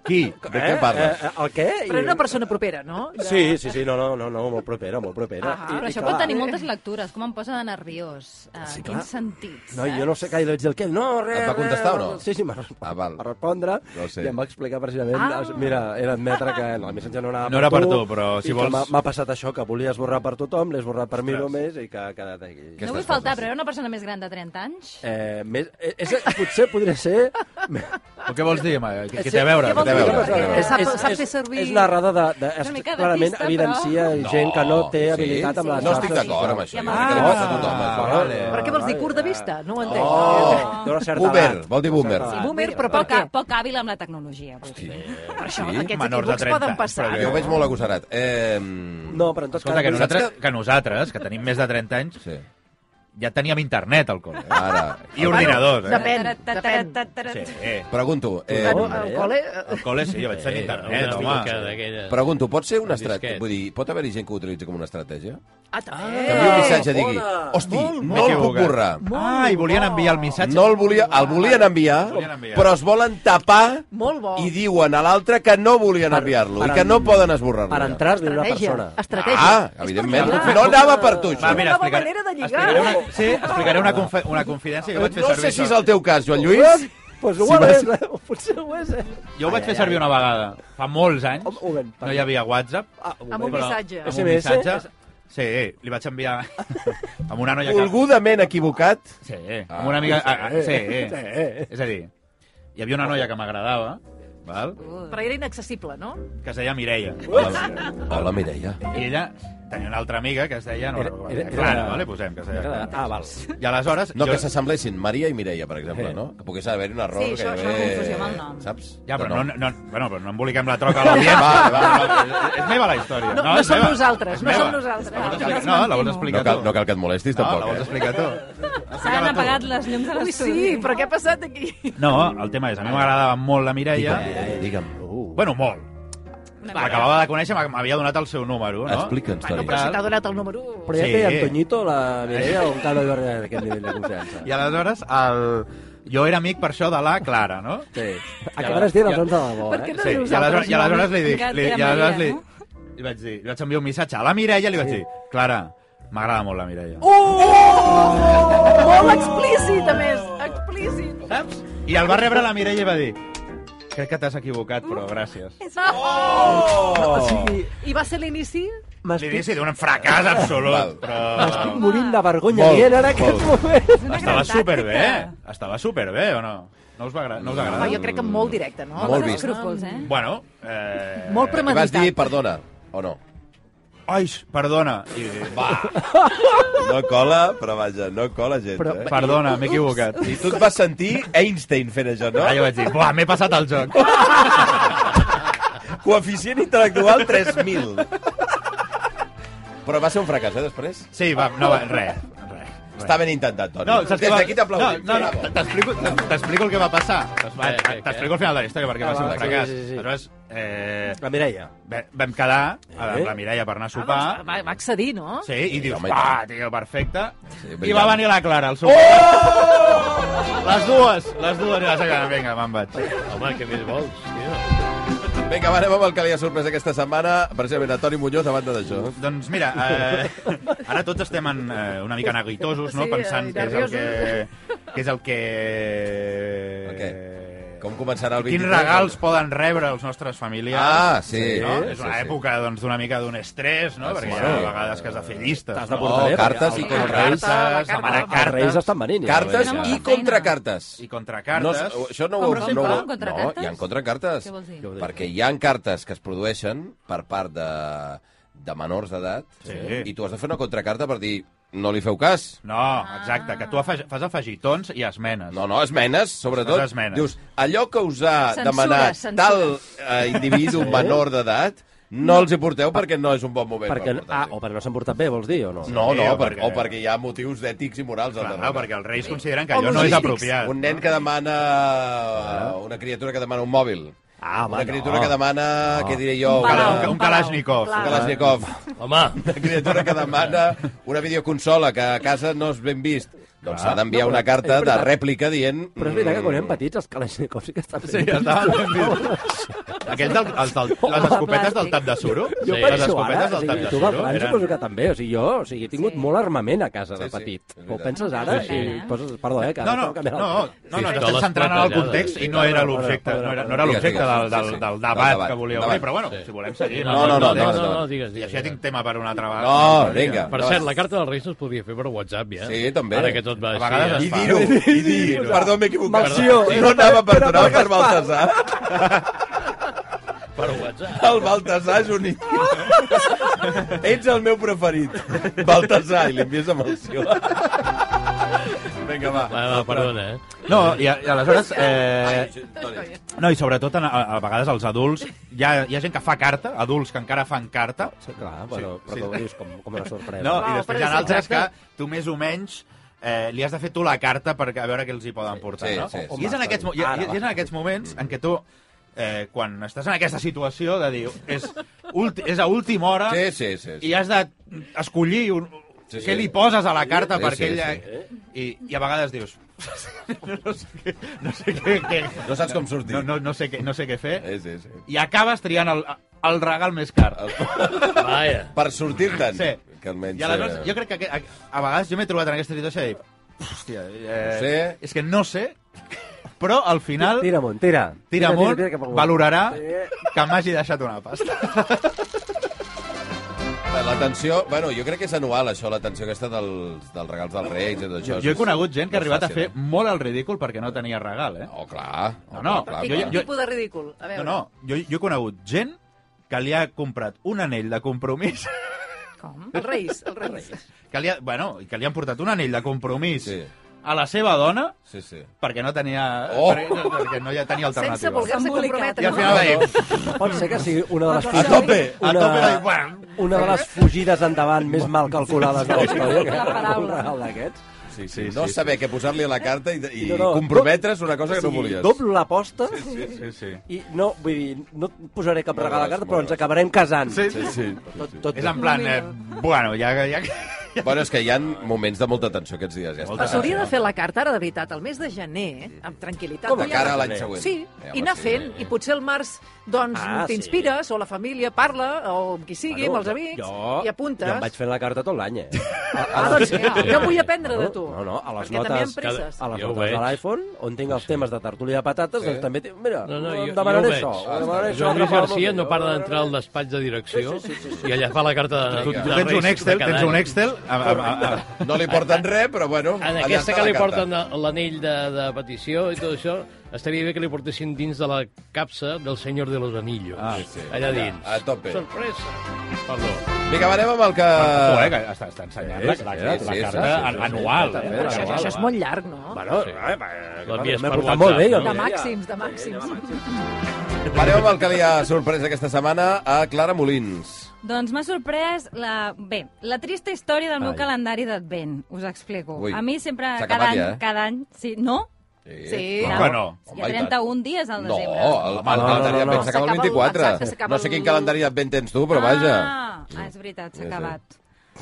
Speaker 5: Qui?
Speaker 2: De què parles?
Speaker 6: Eh, eh, el què?
Speaker 3: Però era una persona propera, no?
Speaker 6: I... Sí, sí, sí, no, no, no, no molt propera, molt propera.
Speaker 3: Ah,
Speaker 7: Però això
Speaker 6: clar,
Speaker 7: pot tenir moltes lectures. Com em posa de nerviós? En
Speaker 6: Sí, clar.
Speaker 7: quins sentits? eh?
Speaker 6: No, jo no sé què, i li vaig dir el què, no, res,
Speaker 2: Et va contestar
Speaker 6: res,
Speaker 2: o no?
Speaker 6: Sí, sí, m'ha respost.
Speaker 2: Ah, val.
Speaker 6: Va respondre
Speaker 2: No ho sé.
Speaker 6: i em va explicar precisament,
Speaker 3: Ah.
Speaker 6: ah. mira, he d'admetre que no, el missatge no anava
Speaker 5: No era
Speaker 6: per tu,
Speaker 5: per tu, però si
Speaker 6: i que
Speaker 5: vols-
Speaker 6: m'ha- M'ha passat això, que volia esborrar per tothom, l'he esborrat per mi
Speaker 5: Ostres.
Speaker 6: només i que ha quedat aquí.
Speaker 2: Aquestes
Speaker 7: No vull faltar,
Speaker 2: coses.
Speaker 7: però era una persona més gran de 30 anys?
Speaker 6: Eh, més, eh, és, potser podria ser...
Speaker 5: O què vols dir? home? Què
Speaker 6: Sí,
Speaker 5: què té a veure?
Speaker 3: què vols
Speaker 5: Què té a
Speaker 2: dir?
Speaker 5: veure?
Speaker 2: Perquè
Speaker 6: És-
Speaker 3: sap-
Speaker 6: és-
Speaker 3: sap
Speaker 6: és-
Speaker 3: fer servir-
Speaker 6: És una errada de... de és,
Speaker 7: Una mica de
Speaker 6: clarament
Speaker 7: pista,
Speaker 6: evidencia eh, gent que no té
Speaker 2: sí?
Speaker 6: habilitat amb les
Speaker 2: No
Speaker 6: xarxes
Speaker 2: estic d'acord amb això.
Speaker 6: socials.
Speaker 2: Jo
Speaker 7: Ah.
Speaker 2: crec que li passa a tothom.
Speaker 5: Ah,
Speaker 2: això.
Speaker 5: vale.
Speaker 3: Però què vols dir, curt de vista? No ho entenc.
Speaker 2: Oh.
Speaker 6: D'una certa
Speaker 2: Boomer,
Speaker 6: edat.
Speaker 2: vol dir boomer.
Speaker 6: D'una certa
Speaker 3: Sí,
Speaker 6: edat.
Speaker 3: boomer, però per
Speaker 7: Poc,
Speaker 3: què?
Speaker 7: poc hàbil amb la tecnologia. Vull dir.
Speaker 3: Per això,
Speaker 2: Sí?
Speaker 3: aquests
Speaker 5: Menors de
Speaker 3: equívocs
Speaker 5: 30,
Speaker 3: poden passar.
Speaker 5: però
Speaker 2: Jo ho veig molt agosarat. Eh, no.
Speaker 6: No, però en tot
Speaker 5: Escolta, que
Speaker 6: cas...
Speaker 5: nosaltres, que nosaltres, que tenim més de 30 anys,
Speaker 2: Sí,
Speaker 5: ja teníem internet al col·le. eh?
Speaker 2: ara.
Speaker 5: I ordinadors, eh?
Speaker 3: Depèn, depèn.
Speaker 5: Sí,
Speaker 7: depèn.
Speaker 5: eh.
Speaker 2: Pregunto, eh,
Speaker 3: Al al col·le...
Speaker 5: Al col·le sí, jo vaig tenir
Speaker 4: Eh,
Speaker 5: internet, home.
Speaker 2: pregunto, pot ser una
Speaker 4: Un disquet.
Speaker 2: estratègia? Vull dir, pot haver-hi gent que ho utilitzi com una estratègia?
Speaker 3: Ah,
Speaker 5: Eh!
Speaker 2: Que envia un
Speaker 3: també.
Speaker 2: missatge i digui,
Speaker 6: bona.
Speaker 2: hosti, no
Speaker 5: M'he
Speaker 2: el puc
Speaker 5: equivocat.
Speaker 2: borrar.
Speaker 5: Ah, i volien enviar el missatge.
Speaker 2: No el volia, el volien enviar,
Speaker 5: Volien enviar.
Speaker 2: però es volen tapar
Speaker 3: Molt bo.
Speaker 2: i diuen a l'altre que no volien enviar-lo i
Speaker 6: per
Speaker 2: que no
Speaker 6: en-
Speaker 2: poden esborrar-lo.
Speaker 6: Per
Speaker 2: ja.
Speaker 6: entrar-li una
Speaker 3: Estratègia.
Speaker 6: persona.
Speaker 3: Estratègia.
Speaker 2: Ah,
Speaker 3: És
Speaker 2: evidentment.
Speaker 3: per lligar.
Speaker 2: No anava per tu,
Speaker 5: Va,
Speaker 2: això.
Speaker 5: mira,
Speaker 3: Una nova
Speaker 5: explicaré-
Speaker 3: manera de lligar.
Speaker 5: explicaré una, sí, explicaré una, confe una confidència que vaig fer
Speaker 2: No
Speaker 5: servir.
Speaker 2: sé si és
Speaker 5: això.
Speaker 2: el teu cas, Joan Lluís.
Speaker 6: Pues ho
Speaker 2: Si
Speaker 6: és,
Speaker 2: vas-
Speaker 6: eh? potser ho és, eh?
Speaker 5: Jo ho vaig fer servir una vegada, fa molts anys.
Speaker 6: Home, un moment,
Speaker 5: No hi havia WhatsApp.
Speaker 6: Ah,
Speaker 3: Amb un
Speaker 5: però-
Speaker 3: missatge.
Speaker 5: Amb un
Speaker 6: SMS?
Speaker 5: missatge. Sí, li vaig enviar amb una noia que...
Speaker 2: Volgudament equivocat.
Speaker 5: Sí, amb una amiga... Ah, ah, sí, és a dir, hi havia una noia que m'agradava, val?
Speaker 3: Però era inaccessible, no?
Speaker 5: que es deia Mireia.
Speaker 2: Hola, Mireia.
Speaker 5: I ella tenia una altra amiga que es deia... No,
Speaker 6: Era-
Speaker 5: no,
Speaker 6: era-
Speaker 5: Clara,
Speaker 6: era-
Speaker 5: vale? Posem, que es deia Clara.
Speaker 6: Ah, val.
Speaker 5: I aleshores...
Speaker 2: No,
Speaker 5: jo-
Speaker 2: que s'assemblessin Maria i Mireia, per exemple, no? Que pogués haver-hi un error.
Speaker 7: Sí, això
Speaker 2: que
Speaker 7: és una confusió amb el nom.
Speaker 2: Saps?
Speaker 5: Ja, però no,
Speaker 2: no.
Speaker 5: no, no, bueno, però no emboliquem la troca a l'audiència.
Speaker 2: Va, va,
Speaker 5: no, és, és meva la història.
Speaker 3: No, no
Speaker 5: és
Speaker 3: som
Speaker 5: meva.
Speaker 3: nosaltres,
Speaker 5: És
Speaker 3: no
Speaker 5: meva.
Speaker 3: som nosaltres.
Speaker 5: La vols
Speaker 3: Jo
Speaker 5: explicar-
Speaker 3: les
Speaker 5: No, la
Speaker 3: mantimo.
Speaker 5: vols
Speaker 2: No
Speaker 5: explicar
Speaker 2: cal,
Speaker 5: tu.
Speaker 2: no cal que et molestis,
Speaker 5: No, Ah, la
Speaker 2: tampoc.
Speaker 5: vols
Speaker 2: eh?
Speaker 5: explicar tu.
Speaker 7: S'han
Speaker 5: tu.
Speaker 7: apagat les llums de
Speaker 3: Ui,
Speaker 7: l'estudi.
Speaker 3: sí, però què ha passat aquí?
Speaker 5: No, el tema és, a mi m'agradava molt la Mireia.
Speaker 2: Digue'm, digue'm.
Speaker 5: Bueno, molt. L'acabava de conèixer, m'ha- m'havia donat el seu número, no?
Speaker 2: Explica'ns,
Speaker 3: No,
Speaker 2: Toni.
Speaker 3: però si t'ha donat el número 1.
Speaker 6: Però ja
Speaker 5: Sí.
Speaker 6: té Antoñito, la Mireia, o encara no hi va arribar a aquest nivell de confiança.
Speaker 5: I aleshores, el... jo era amic per això de la Clara, no?
Speaker 6: Sí. Acabaràs dient els noms de debò,
Speaker 3: Per què
Speaker 6: eh?
Speaker 3: no
Speaker 5: Sí,
Speaker 3: dius
Speaker 5: i aleshores, i aleshores li dic...
Speaker 7: Encara
Speaker 5: Li,
Speaker 7: era
Speaker 5: I aleshores li,
Speaker 7: Maria,
Speaker 5: li vaig dir, li vaig enviar un missatge a la Mireia i li vaig dir, Clara, m'agrada molt la Mireia.
Speaker 3: Oh! Molt explícit, a més. Explícit.
Speaker 5: Saps? I el va rebre la Mireia i va dir crec que t'has equivocat, però gràcies.
Speaker 7: Oh!
Speaker 6: O sigui,
Speaker 3: I va ser l'inici?
Speaker 6: m'estic
Speaker 5: L'inici d'un fracàs absolut,
Speaker 2: Val.
Speaker 5: però...
Speaker 6: morint de vergonya
Speaker 2: Molt,
Speaker 6: dient en aquest moment.
Speaker 5: Estava superbé,
Speaker 4: eh?
Speaker 5: estava superbé, o no? No us, va agra- no us agrada?
Speaker 3: Home, jo crec que molt directe, no?
Speaker 2: Molt
Speaker 3: Amb
Speaker 2: vist.
Speaker 3: escrúpols, eh?
Speaker 5: Bueno, eh...
Speaker 3: Molt
Speaker 2: I vas
Speaker 3: premeditat.
Speaker 2: dir perdona, o no?
Speaker 5: Ai, perdona. I... Va,
Speaker 2: No cola, però vaja, no cola gens,
Speaker 6: Però-
Speaker 2: eh?
Speaker 5: perdona, m'he equivocat.
Speaker 2: I tu et vas sentir Einstein fent això,
Speaker 5: No?
Speaker 2: no?
Speaker 5: Ah, jo vaig dir, buah, m'he passat el joc.
Speaker 2: Coeficient intel·lectual 3.000. Però va ser un fracàs, eh, després?
Speaker 5: Sí, va, no, va, res, res.
Speaker 2: Està ben intentat, Toni.
Speaker 5: No, saps
Speaker 2: Des
Speaker 5: què va-
Speaker 2: d'aquí t'aplaudim.
Speaker 5: No, no, no, t'explico, t'explico el que va passar. Va, eh,
Speaker 4: Què, què,
Speaker 5: T'explico el final de la història,
Speaker 2: Ah,
Speaker 5: perquè va ser
Speaker 6: va,
Speaker 5: un
Speaker 6: sí,
Speaker 5: fracàs.
Speaker 6: sí, sí.
Speaker 5: Aleshores, eh,
Speaker 6: La Mireia.
Speaker 5: ve- vam quedar amb
Speaker 6: Eh?
Speaker 5: la Mireia per anar a sopar.
Speaker 3: Va, va, va accedir, no?
Speaker 5: Sí, i dius,
Speaker 2: home, i
Speaker 5: ah, tio, perfecte. I va
Speaker 2: brillant.
Speaker 5: venir la Clara al sopar. Oh! Les dues, les dues. I la Clara, vinga, me'n vaig.
Speaker 4: Home, què més vols, tio?
Speaker 2: Vinga, va, anem amb el que li ha sorprès aquesta setmana, precisament a Toni Muñoz, a banda d'això.
Speaker 5: Doncs mira, eh, ara tots estem en, eh, una mica neguitosos, no?
Speaker 3: Sí,
Speaker 5: pensant
Speaker 3: eh,
Speaker 5: que és el que...
Speaker 3: nerviosos.
Speaker 5: Que és el que...
Speaker 2: El què? Com començarà el 23?
Speaker 5: Quins regals poden rebre els nostres familiars?
Speaker 2: Ah, sí.
Speaker 5: No?
Speaker 2: Sí,
Speaker 5: és una
Speaker 2: sí, sí.
Speaker 5: època doncs, d'una mica d'un estrès, no?
Speaker 2: Ah,
Speaker 5: Perquè
Speaker 2: sí,
Speaker 5: hi ha
Speaker 2: sí.
Speaker 5: a vegades que has de fer llistes.
Speaker 6: T'has de
Speaker 5: no?
Speaker 6: portar bé,
Speaker 2: cartes
Speaker 5: perquè
Speaker 2: i
Speaker 5: el-
Speaker 2: contracartes.
Speaker 5: cartes,
Speaker 3: La carta.
Speaker 5: demanar
Speaker 6: Els reis
Speaker 5: cartes
Speaker 6: estan venint. ja,
Speaker 2: Cartes
Speaker 6: la
Speaker 2: i
Speaker 6: Mireia.
Speaker 7: feina.
Speaker 2: contracartes.
Speaker 5: i contracartes.
Speaker 2: No, això no ho...
Speaker 7: Com
Speaker 2: no,
Speaker 7: sempre,
Speaker 2: ho-
Speaker 7: amb contracartes?
Speaker 2: No, hi ha contracartes.
Speaker 7: Què vols dir? Què
Speaker 6: vol dir?
Speaker 2: Perquè hi ha cartes que es produeixen per part de, de menors d'edat
Speaker 5: Sí.
Speaker 2: i tu has de fer una contracarta per dir no li feu cas.
Speaker 5: No, exacte, que tu afeg fas afegitons i esmenes.
Speaker 2: No, no, esmenes, sobretot.
Speaker 5: Les esmenes.
Speaker 2: Dius, allò que us ha
Speaker 7: Censures,
Speaker 2: demanat
Speaker 7: censures.
Speaker 2: tal eh, individu menor d'edat, no els hi porteu perquè no és un bon moment.
Speaker 6: Perquè,
Speaker 2: per
Speaker 6: ah,
Speaker 2: portar-los.
Speaker 6: o perquè no s'han portat bé, vols dir, o no?
Speaker 2: No, no,
Speaker 5: Sí, o
Speaker 2: perquè, o
Speaker 5: perquè-
Speaker 2: perquè hi ha motius ètics i morals. al
Speaker 5: Clar,
Speaker 2: darrere.
Speaker 5: perquè els reis consideren que
Speaker 3: O
Speaker 5: allò no és
Speaker 3: logístics.
Speaker 5: apropiat.
Speaker 2: Un nen que demana... eh, Una criatura que demana un mòbil.
Speaker 6: Ah, home,
Speaker 2: Una criatura
Speaker 6: no. Oh.
Speaker 2: que demana, què diré jo...
Speaker 7: Un
Speaker 5: Cal-
Speaker 7: palau,
Speaker 5: un,
Speaker 2: una-
Speaker 5: un Kalashnikov.
Speaker 3: Clar.
Speaker 2: Un Kalashnikov.
Speaker 4: Home,
Speaker 2: Una criatura que demana una videoconsola que a casa no és ben vist. Doncs s'ha d'enviar
Speaker 6: Ah. No,
Speaker 2: una
Speaker 6: però-
Speaker 2: carta de
Speaker 6: és veritat.
Speaker 2: rèplica dient...
Speaker 6: Però és veritat que quan
Speaker 2: Mm.
Speaker 6: érem petits els Kalashnikov sí que estan
Speaker 5: Sí, ja estaven ben vist. Aquells del, els del, les escopetes del tap de suro?
Speaker 6: Jo
Speaker 4: Sí,
Speaker 6: per
Speaker 5: les
Speaker 6: això ara,
Speaker 5: escopetes
Speaker 6: o
Speaker 5: del tap
Speaker 6: sigui,
Speaker 5: de
Speaker 6: tu va
Speaker 5: suro.
Speaker 6: França
Speaker 5: eren-
Speaker 6: suposo que també, o sigui, jo o sigui, he tingut
Speaker 7: Sí.
Speaker 6: molt armament a casa de
Speaker 2: Sí, sí,
Speaker 6: petit.
Speaker 2: és
Speaker 6: Ho
Speaker 2: veritat.
Speaker 6: penses ara
Speaker 7: Sí, sí.
Speaker 6: i poses, perdó, eh, que
Speaker 5: No,
Speaker 6: ara
Speaker 5: no,
Speaker 6: estava
Speaker 5: no,
Speaker 6: canviant el-
Speaker 5: no, no, no,
Speaker 4: sí,
Speaker 5: estem
Speaker 4: les
Speaker 5: centrant en el
Speaker 4: platejades.
Speaker 5: context i no era l'objecte, no era, no era l'objecte del, del, del debat que volíeu obrir, però bueno, si volem seguir.
Speaker 2: No, no, no,
Speaker 4: no,
Speaker 2: no,
Speaker 4: no,
Speaker 2: no.
Speaker 4: no digues,
Speaker 5: I
Speaker 4: digues.
Speaker 5: així ja tinc tema per una altra vegada.
Speaker 2: No, vinga.
Speaker 4: Per cert, la carta dels Reis no es podia fer per WhatsApp, ja.
Speaker 2: Sí, també.
Speaker 4: Ara que tot
Speaker 5: A
Speaker 4: va així. eh?
Speaker 5: vegades
Speaker 4: ja.
Speaker 5: es
Speaker 2: I
Speaker 5: fa.
Speaker 2: dir-ho, i dir-ho. Perdó, m'he equivocat.
Speaker 6: Malció,
Speaker 2: Sí, no anava per
Speaker 6: era
Speaker 2: Donau,
Speaker 6: per
Speaker 2: per Baltasar.
Speaker 4: Per WhatsApp.
Speaker 2: El Baltasar és un idiota. Ets el meu preferit. Baltasar, i l'envies a Malció. Vinga, va.
Speaker 4: Va, va, perdona, eh?
Speaker 5: No, i, a- i aleshores... Eh,
Speaker 2: Ai, Toni.
Speaker 5: No, i sobretot a, a, a vegades els adults, hi ha, hi ha gent que fa carta, adults que encara fan carta,
Speaker 6: Sí, clar, bueno,
Speaker 5: Sí,
Speaker 6: però
Speaker 5: sí.
Speaker 6: que ho dius com, com una sorpresa.
Speaker 5: no?
Speaker 3: Wow,
Speaker 5: I després
Speaker 3: però
Speaker 5: hi ha
Speaker 3: és
Speaker 5: altres que
Speaker 3: exacte.
Speaker 5: tu més o menys eh, li has de fer tu la carta per a veure què els hi poden portar,
Speaker 2: sí,
Speaker 5: no?
Speaker 2: sí, sí.
Speaker 5: I és en aquests, mo- i,
Speaker 6: Ara
Speaker 5: i-
Speaker 6: va.
Speaker 5: i és en aquests moments en què tu eh, quan estàs en aquesta situació de dir, és, ulti, és a última hora
Speaker 2: Sí, sí, sí. sí.
Speaker 5: i has d'escollir un,
Speaker 2: Sí, sí.
Speaker 5: què li poses a la carta
Speaker 2: Sí,
Speaker 5: sí, perquè
Speaker 2: sí,
Speaker 5: ella... I, I a vegades dius... no sé què... No sé què, què
Speaker 2: No saps com sortir.
Speaker 5: no, no, no, sé què, no sé què fer.
Speaker 2: Sí, sí, sí.
Speaker 5: i acabes triant el, el regal més car.
Speaker 4: Vaja.
Speaker 2: Per sortir-te'n.
Speaker 5: Sí.
Speaker 2: Que almenys...
Speaker 5: I aleshores,
Speaker 2: eh,
Speaker 5: jo crec que a, a vegades jo m'he trobat en aquesta situació i dic, hòstia, eh,
Speaker 2: No sé.
Speaker 5: és que no sé, però al final
Speaker 6: Tira amunt, tira.
Speaker 5: tira amunt,
Speaker 6: cap amunt.
Speaker 5: valorarà
Speaker 6: Sí.
Speaker 5: que m'hagi deixat una pasta.
Speaker 2: L'atenció... Bueno, jo crec que és anual, això, l'atenció aquesta dels, dels regals dels reis i tot això.
Speaker 5: Jo he conegut gent que ha
Speaker 2: No és
Speaker 5: arribat a fer
Speaker 2: fàcil, eh?
Speaker 5: molt el ridícul perquè no tenia regal, eh?
Speaker 2: Oh, clar.
Speaker 5: No, no,
Speaker 2: clar,
Speaker 3: Quin,
Speaker 5: jo-
Speaker 2: clar.
Speaker 3: quin
Speaker 5: jo-
Speaker 3: tipus de ridícul? A veure.
Speaker 5: No, no, jo, jo he conegut gent que li ha comprat un anell de compromís
Speaker 7: Com?
Speaker 3: Els reis, els reis.
Speaker 5: que li ha, bueno, i que li han portat un anell de compromís
Speaker 2: Sí.
Speaker 5: a la seva dona
Speaker 2: Sí, sí.
Speaker 5: perquè no tenia
Speaker 2: Oh!
Speaker 5: perquè, perquè no ja tenia alternativa.
Speaker 3: Sense voler-se
Speaker 7: S'ha
Speaker 3: comprometre.
Speaker 5: I al final deia,
Speaker 6: Pot ser que sigui una de les
Speaker 3: A
Speaker 2: tope,
Speaker 5: a
Speaker 6: una-
Speaker 5: tope, dic, bueno.
Speaker 6: Una de les fugides endavant més mal calculades de la història. que
Speaker 7: La
Speaker 6: era Un
Speaker 7: paraula.
Speaker 6: regal d'aquests.
Speaker 2: Sí, sí, no saber què posar-li a la carta i, i
Speaker 6: No, no.
Speaker 2: comprometre's una cosa que no
Speaker 6: O sigui,
Speaker 2: volies.
Speaker 6: Doblo l'aposta
Speaker 5: Sí, sí.
Speaker 6: i no, vull dir, no et posaré cap
Speaker 2: Molt
Speaker 6: regal a la
Speaker 2: gros,
Speaker 6: carta,
Speaker 2: molt
Speaker 6: però ens
Speaker 2: gros.
Speaker 6: acabarem casant.
Speaker 5: Sí,
Speaker 2: Sí,
Speaker 5: sí.
Speaker 2: sí.
Speaker 6: Tot, tot
Speaker 5: És en plan, eh, bueno, ja... ja...
Speaker 2: Bueno, és que hi ha moments de molta tensió aquests dies. Ja
Speaker 5: Molta
Speaker 3: Però
Speaker 2: està.
Speaker 3: s'hauria de fer la carta ara, de veritat, el mes de gener, amb tranquil·litat.
Speaker 2: De cara a l'any següent.
Speaker 3: Sí,
Speaker 2: Ja,
Speaker 3: i
Speaker 2: va,
Speaker 3: anar
Speaker 2: sí.
Speaker 3: fent, i potser el març doncs
Speaker 6: Ah,
Speaker 3: ah, t'inspires, sí. o la família parla, o amb qui sigui,
Speaker 6: Bueno,
Speaker 3: amb els amics,
Speaker 6: jo-
Speaker 3: i apuntes.
Speaker 6: Jo em vaig fent la carta tot l'any, eh?
Speaker 3: Ah, doncs ja, jo vull aprendre de tu.
Speaker 6: No, no, a les
Speaker 3: perquè també
Speaker 6: notes-
Speaker 3: em presses.
Speaker 6: A les
Speaker 4: Jo ho
Speaker 6: notes de
Speaker 4: veig.
Speaker 6: l'iPhone, on tinc els temes de tertúlia de patates, doncs també... tinc- Mira,
Speaker 4: No, no, jo-
Speaker 6: em demanaré
Speaker 4: jo ho
Speaker 6: això.
Speaker 4: veig.
Speaker 6: em demanaré això,
Speaker 4: Joan Lluís
Speaker 6: em demanaré
Speaker 4: Garcia
Speaker 6: això,
Speaker 4: no
Speaker 6: em
Speaker 4: para
Speaker 6: demanaré
Speaker 4: d'entrar al despatx de direcció i allà fa la carta de...
Speaker 5: Tu, tu tens
Speaker 4: de Reis
Speaker 5: un
Speaker 4: de
Speaker 5: Excel,
Speaker 4: cada
Speaker 5: tens un
Speaker 4: any.
Speaker 5: Excel... Amb, amb, amb, amb...
Speaker 2: No li porten res, però bueno...
Speaker 4: En
Speaker 2: allà
Speaker 4: aquesta
Speaker 2: està
Speaker 4: que
Speaker 2: la
Speaker 4: li
Speaker 2: carta.
Speaker 4: porten eh? l'anell de, de petició i tot això, estaria bé que li portessin dins de la capsa del Senyor de los Anillos.
Speaker 5: Ah,
Speaker 2: sí.
Speaker 4: Allà dins.
Speaker 2: A tope.
Speaker 4: Sorpresa. Perdó.
Speaker 2: Vinga, va, anem amb el que...
Speaker 5: Uh... Eh, que està, està ensenyant la, la, la,
Speaker 2: sí,
Speaker 5: la
Speaker 2: sí,
Speaker 5: carta
Speaker 2: sí, sí, sí.
Speaker 5: anual. Eh?
Speaker 3: Però això, això és molt llarg, no?
Speaker 6: Bueno,
Speaker 4: Sí.
Speaker 6: eh, va,
Speaker 4: L'envies
Speaker 6: m'he
Speaker 4: Doncs per
Speaker 6: portat
Speaker 4: WhatsApp,
Speaker 6: molt bé, jo.
Speaker 4: no?
Speaker 3: De màxims, de màxims.
Speaker 2: Anem amb el que li ha sorprès aquesta setmana a Clara Molins.
Speaker 7: Doncs m'ha sorprès la... Bé, la trista història del meu
Speaker 6: Ai.
Speaker 7: calendari d'advent. Us explico.
Speaker 2: Ui.
Speaker 7: A mi sempre,
Speaker 2: S'ha
Speaker 7: cada
Speaker 2: acabat
Speaker 7: any,
Speaker 2: ja, eh?
Speaker 7: cada any... Sí, no?
Speaker 3: Sí.
Speaker 5: Com
Speaker 7: No.
Speaker 5: que no?
Speaker 7: Hi ha 31 dies al
Speaker 2: No, el,
Speaker 7: desembre.
Speaker 2: el, el calendari
Speaker 6: no, no.
Speaker 2: d'advent s'acaba el 24.
Speaker 3: S'acaba el- exacte, s'acaba
Speaker 2: no sé quin
Speaker 3: el-
Speaker 2: calendari d'advent tens tu, però vaja.
Speaker 7: Ah, és veritat,
Speaker 2: Sí, sí.
Speaker 7: s'ha acabat.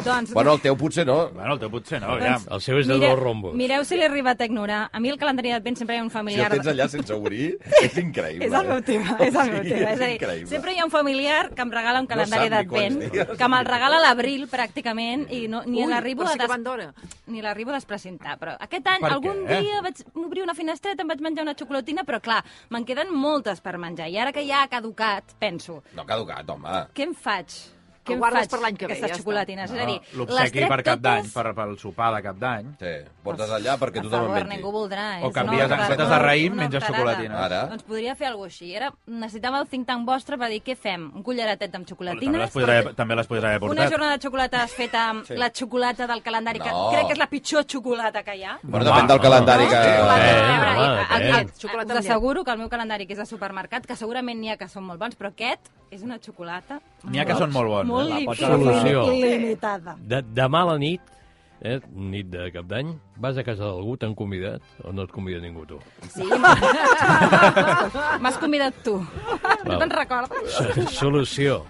Speaker 7: Doncs...
Speaker 2: Bueno, el teu potser no.
Speaker 5: Bueno, el teu potser no, aviam.
Speaker 4: El seu és de
Speaker 7: mire-
Speaker 4: dos rombos.
Speaker 7: Mireu si l'he arribat a ignorar. A mi el calendari d'advent sempre hi ha un
Speaker 2: Si el
Speaker 7: familiar...
Speaker 2: tens allà sense obrir, és increïble. eh?
Speaker 7: És el meu tema, és el meu
Speaker 2: Sí,
Speaker 7: tema. És
Speaker 2: és
Speaker 7: a dir,
Speaker 2: increïble.
Speaker 7: sempre hi ha un familiar que em regala un calendari
Speaker 2: sap ni quants
Speaker 7: d'advent,
Speaker 2: dies.
Speaker 7: que me'l regala a l'abril, pràcticament, i no, ni
Speaker 3: Ui,
Speaker 7: l'arribo
Speaker 3: però
Speaker 7: a,
Speaker 3: sí que abandona.
Speaker 7: ni l'arribo a desprecintar. Però aquest any,
Speaker 5: Per què?
Speaker 7: algun dia, vaig obrir una finestreta, em vaig menjar una xocolatina, però clar, me'n queden moltes per menjar. I ara que ja ha caducat, penso,
Speaker 2: No ha caducat, home.
Speaker 7: què en faig? Què
Speaker 3: El
Speaker 7: en
Speaker 3: guardes
Speaker 7: faig,
Speaker 3: per l'any que ve,
Speaker 7: aquestes
Speaker 3: ja està.
Speaker 7: xocolatines? És a dir,
Speaker 5: No,
Speaker 7: les
Speaker 5: Ah, L'obsequi
Speaker 7: trec
Speaker 5: per cap d'any,
Speaker 7: totes-
Speaker 5: per, pel sopar de cap d'any.
Speaker 2: Sí, portes allà perquè
Speaker 7: a
Speaker 2: tothom en
Speaker 7: favor,
Speaker 2: mengi.
Speaker 7: ningú voldrà. eh?
Speaker 5: O
Speaker 7: és
Speaker 5: canvies,
Speaker 7: una
Speaker 5: en comptes de
Speaker 7: horterada,
Speaker 5: raïm,
Speaker 7: una
Speaker 5: menges
Speaker 7: horterada.
Speaker 5: xocolatines.
Speaker 2: Ara.
Speaker 7: Doncs podria fer alguna així. Era, necessitava el think tank vostre per dir què fem, un culleratet
Speaker 5: També
Speaker 7: amb
Speaker 5: les
Speaker 7: xocolatines,
Speaker 5: podrà, també les podrà haver
Speaker 7: una
Speaker 5: portat.
Speaker 7: jornada de xocolates feta amb sí. la xocolata del calendari, que
Speaker 2: No.
Speaker 7: crec que és la pitjor xocolata que hi ha.
Speaker 2: Bueno, depèn del
Speaker 5: No,
Speaker 2: calendari
Speaker 5: no,
Speaker 2: que...
Speaker 5: no,
Speaker 7: Xocolata,
Speaker 5: Eh,
Speaker 7: a veure,
Speaker 4: home,
Speaker 7: i-
Speaker 4: depèn.
Speaker 7: el- el-
Speaker 3: Xocolata amb
Speaker 7: us
Speaker 3: llet.
Speaker 7: asseguro que el meu calendari, que és de supermercat, que segurament n'hi ha que són molt bons, però aquest és una xocolata
Speaker 5: N'hi ha que són molt bons.
Speaker 7: molt
Speaker 5: eh?
Speaker 6: La
Speaker 7: lim-
Speaker 6: pots
Speaker 4: agafar.
Speaker 7: limitada.
Speaker 4: De, demà a la nit, eh, nit de cap d'any, vas a casa d'algú, t'han convidat o no et convida ningú tu?
Speaker 7: Sí, m'has- m'has convidat tu. No
Speaker 4: Val.
Speaker 7: te'n recordes?
Speaker 4: Solució.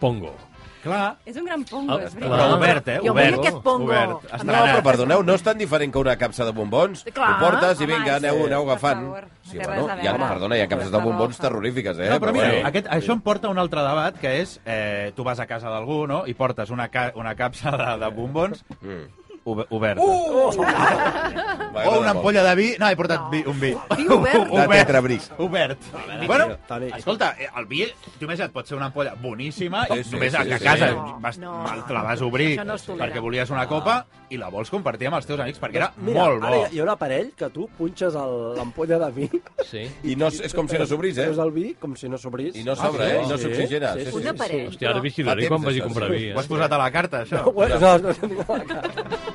Speaker 4: Pongo.
Speaker 5: Clar,
Speaker 7: És un gran pongo,
Speaker 4: Ah,
Speaker 7: és
Speaker 4: clar.
Speaker 5: però
Speaker 7: veritat.
Speaker 5: obert, eh?
Speaker 3: Jo vull
Speaker 5: obert.
Speaker 3: aquest pongo.
Speaker 5: Obert.
Speaker 3: No,
Speaker 2: No, però
Speaker 5: Estrenat.
Speaker 2: perdoneu, no és tan diferent que una capsa de bombons.
Speaker 3: Clar,
Speaker 2: Ho portes i
Speaker 7: home,
Speaker 2: vinga, aneu,
Speaker 7: sí.
Speaker 2: aneu
Speaker 7: Per
Speaker 2: agafant.
Speaker 7: favor, no
Speaker 2: Sí,
Speaker 7: té
Speaker 2: bueno,
Speaker 7: res a
Speaker 2: hi ha,
Speaker 7: veure.
Speaker 2: perdona, hi ha capses de
Speaker 7: Està
Speaker 2: bombons
Speaker 7: bofa.
Speaker 2: terrorífiques, eh?
Speaker 5: No, però mira,
Speaker 2: bueno.
Speaker 5: aquest, això em porta a un altre debat, que és, eh, tu vas a casa d'algú, no?, i portes una, ca una capsa de, de bombons mm. oberta. Uh!
Speaker 2: M'agrada
Speaker 5: O una
Speaker 2: molt.
Speaker 5: ampolla de vi... No, he portat vi, un vi.
Speaker 3: Vi obert?
Speaker 2: De Tetrabric.
Speaker 5: Obert.
Speaker 6: veure,
Speaker 5: bueno,
Speaker 6: tio, Toni.
Speaker 5: escolta, eh, el vi, tu més et pot ser una ampolla boníssima,
Speaker 2: Sí,
Speaker 5: sí,
Speaker 2: sí,
Speaker 5: sí, només
Speaker 2: sí,
Speaker 5: a, a
Speaker 2: sí.
Speaker 5: casa
Speaker 3: No,
Speaker 5: vas,
Speaker 3: no.
Speaker 5: no, te la vas obrir
Speaker 3: Això no es tolera.
Speaker 5: perquè volies una copa i la vols compartir amb els teus amics perquè era
Speaker 6: Mira,
Speaker 5: molt
Speaker 6: ara
Speaker 5: bo.
Speaker 6: hi ha un aparell que tu punxes el- l'ampolla de vi
Speaker 4: Sí.
Speaker 2: I no, és com si no s'obrís, eh?
Speaker 6: treus el vi com si no s'obrís. Ah,
Speaker 2: I no s'obre, eh? I no
Speaker 6: Sí,
Speaker 2: s'oxigena.
Speaker 6: sí,
Speaker 2: Sí,
Speaker 6: sí.
Speaker 2: sí,
Speaker 3: Un
Speaker 2: sí.
Speaker 3: aparell.
Speaker 4: Hòstia, ara
Speaker 3: però-
Speaker 4: vaig dir
Speaker 2: Fa
Speaker 4: quan vaig
Speaker 2: temps,
Speaker 4: a comprar
Speaker 2: això,
Speaker 4: vi.
Speaker 5: Ho has
Speaker 4: Eh?
Speaker 5: posat a la carta, això?
Speaker 6: No, no, no, no, no, no.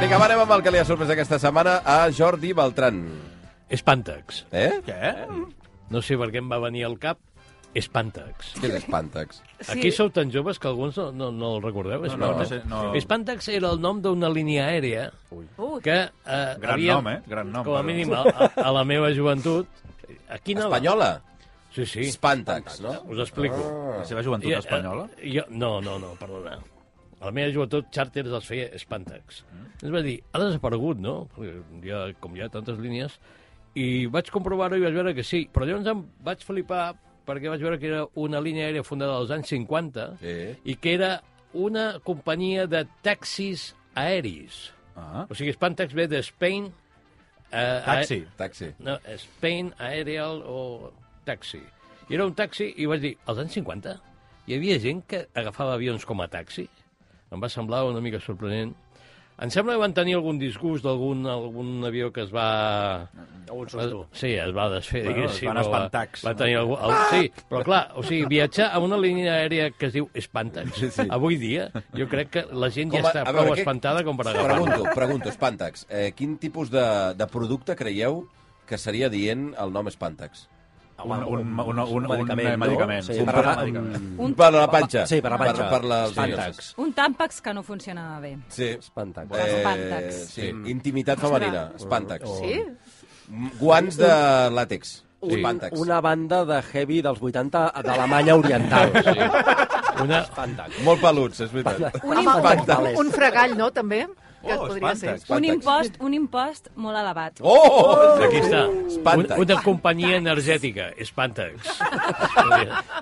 Speaker 2: Vinga, va, anem amb el que li ha sorprès aquesta setmana a Jordi Beltran.
Speaker 4: Espàntax.
Speaker 2: Eh?
Speaker 5: Què?
Speaker 4: No sé per què em va venir al cap. Espàntax.
Speaker 2: Què és espàntax?
Speaker 3: Sí.
Speaker 4: Aquí sou tan joves que alguns no, no, no el recordeu.
Speaker 5: No, no, no sé, no.
Speaker 4: Espàntax era el nom d'una línia aèria
Speaker 3: Ui.
Speaker 4: que eh,
Speaker 5: Gran
Speaker 4: havia,
Speaker 5: nom, eh? Gran nom,
Speaker 4: com a
Speaker 5: perdó.
Speaker 4: mínim a, a, a la meva joventut. A quina edat?
Speaker 2: Espanyola.
Speaker 4: Sí, sí.
Speaker 2: Espantax, no?
Speaker 4: Us explico.
Speaker 5: La seva joventut
Speaker 4: Jo-
Speaker 5: espanyola?
Speaker 4: eh, Jo, no, no, no, perdona. A la meva joventut, xàrters els feia Espantax.
Speaker 5: Mm.
Speaker 4: Ens va dir, ha desaparegut, no? Perquè Ja, com hi ha tantes línies. I vaig comprovar-ho i vaig veure que sí. Però llavors em vaig flipar perquè vaig veure que era una línia aèria fundada als anys 50
Speaker 2: Sí.
Speaker 4: i que era una companyia de taxis aèris.
Speaker 5: Ah.
Speaker 4: O sigui, Spantax ve de Spain... Eh,
Speaker 5: Taxi.
Speaker 2: Taxi.
Speaker 4: no, Spain Aerial o taxi. I era un taxi i vaig dir, als anys 50 hi havia gent que agafava avions com a taxi? Em va semblar una mica sorprenent. Em sembla que van tenir algun disgust d'algun algun avió que es va...
Speaker 6: Un susto.
Speaker 4: Sí, es va desfer,
Speaker 5: Bueno, es
Speaker 4: diguéssim.
Speaker 5: van
Speaker 4: o va-
Speaker 5: espantax.
Speaker 4: Va tenir algú... El, sí, però clar, o sigui, viatjar a una línia aèria que es diu Espantax, sí, sí. avui dia, jo crec que la gent ja
Speaker 2: Com a-
Speaker 4: està
Speaker 2: a veure,
Speaker 4: prou
Speaker 2: què-
Speaker 4: espantada com per agafar.
Speaker 2: Pregunto, pregunto, Spantax, eh, quin tipus de, de producte creieu que seria dient el nom Spantax?
Speaker 5: Un, un, un, un, un
Speaker 6: medicament, no?
Speaker 5: medicament.
Speaker 6: Sí,
Speaker 5: Un
Speaker 6: per la-
Speaker 7: Un-
Speaker 2: per la panxa.
Speaker 6: Sí, per la
Speaker 2: Per,
Speaker 6: panxa.
Speaker 2: per la...
Speaker 6: Espantax.
Speaker 7: Un tàmpax que no funcionava bé.
Speaker 2: Sí.
Speaker 6: Espantax.
Speaker 2: Eh,
Speaker 7: Spantax.
Speaker 2: sí. Intimitat femenina, Spantax.
Speaker 3: Sí?
Speaker 2: Guants de làtex,
Speaker 6: Un-
Speaker 2: Spantax.
Speaker 6: Una banda de heavy dels 80 d'Alemanya Oriental.
Speaker 4: Una,
Speaker 6: Espantax.
Speaker 2: Molt peluts, és veritat.
Speaker 3: Un,
Speaker 2: Espanta.
Speaker 3: un, un fregall, no, també? Que
Speaker 5: Oh,
Speaker 3: podria ser.
Speaker 5: espanta.
Speaker 7: Un
Speaker 2: Espàntax.
Speaker 7: impost, un impost molt elevat.
Speaker 2: Oh! oh!
Speaker 4: Aquí està.
Speaker 2: Espantax.
Speaker 4: Un, una companyia energètica. Espantax.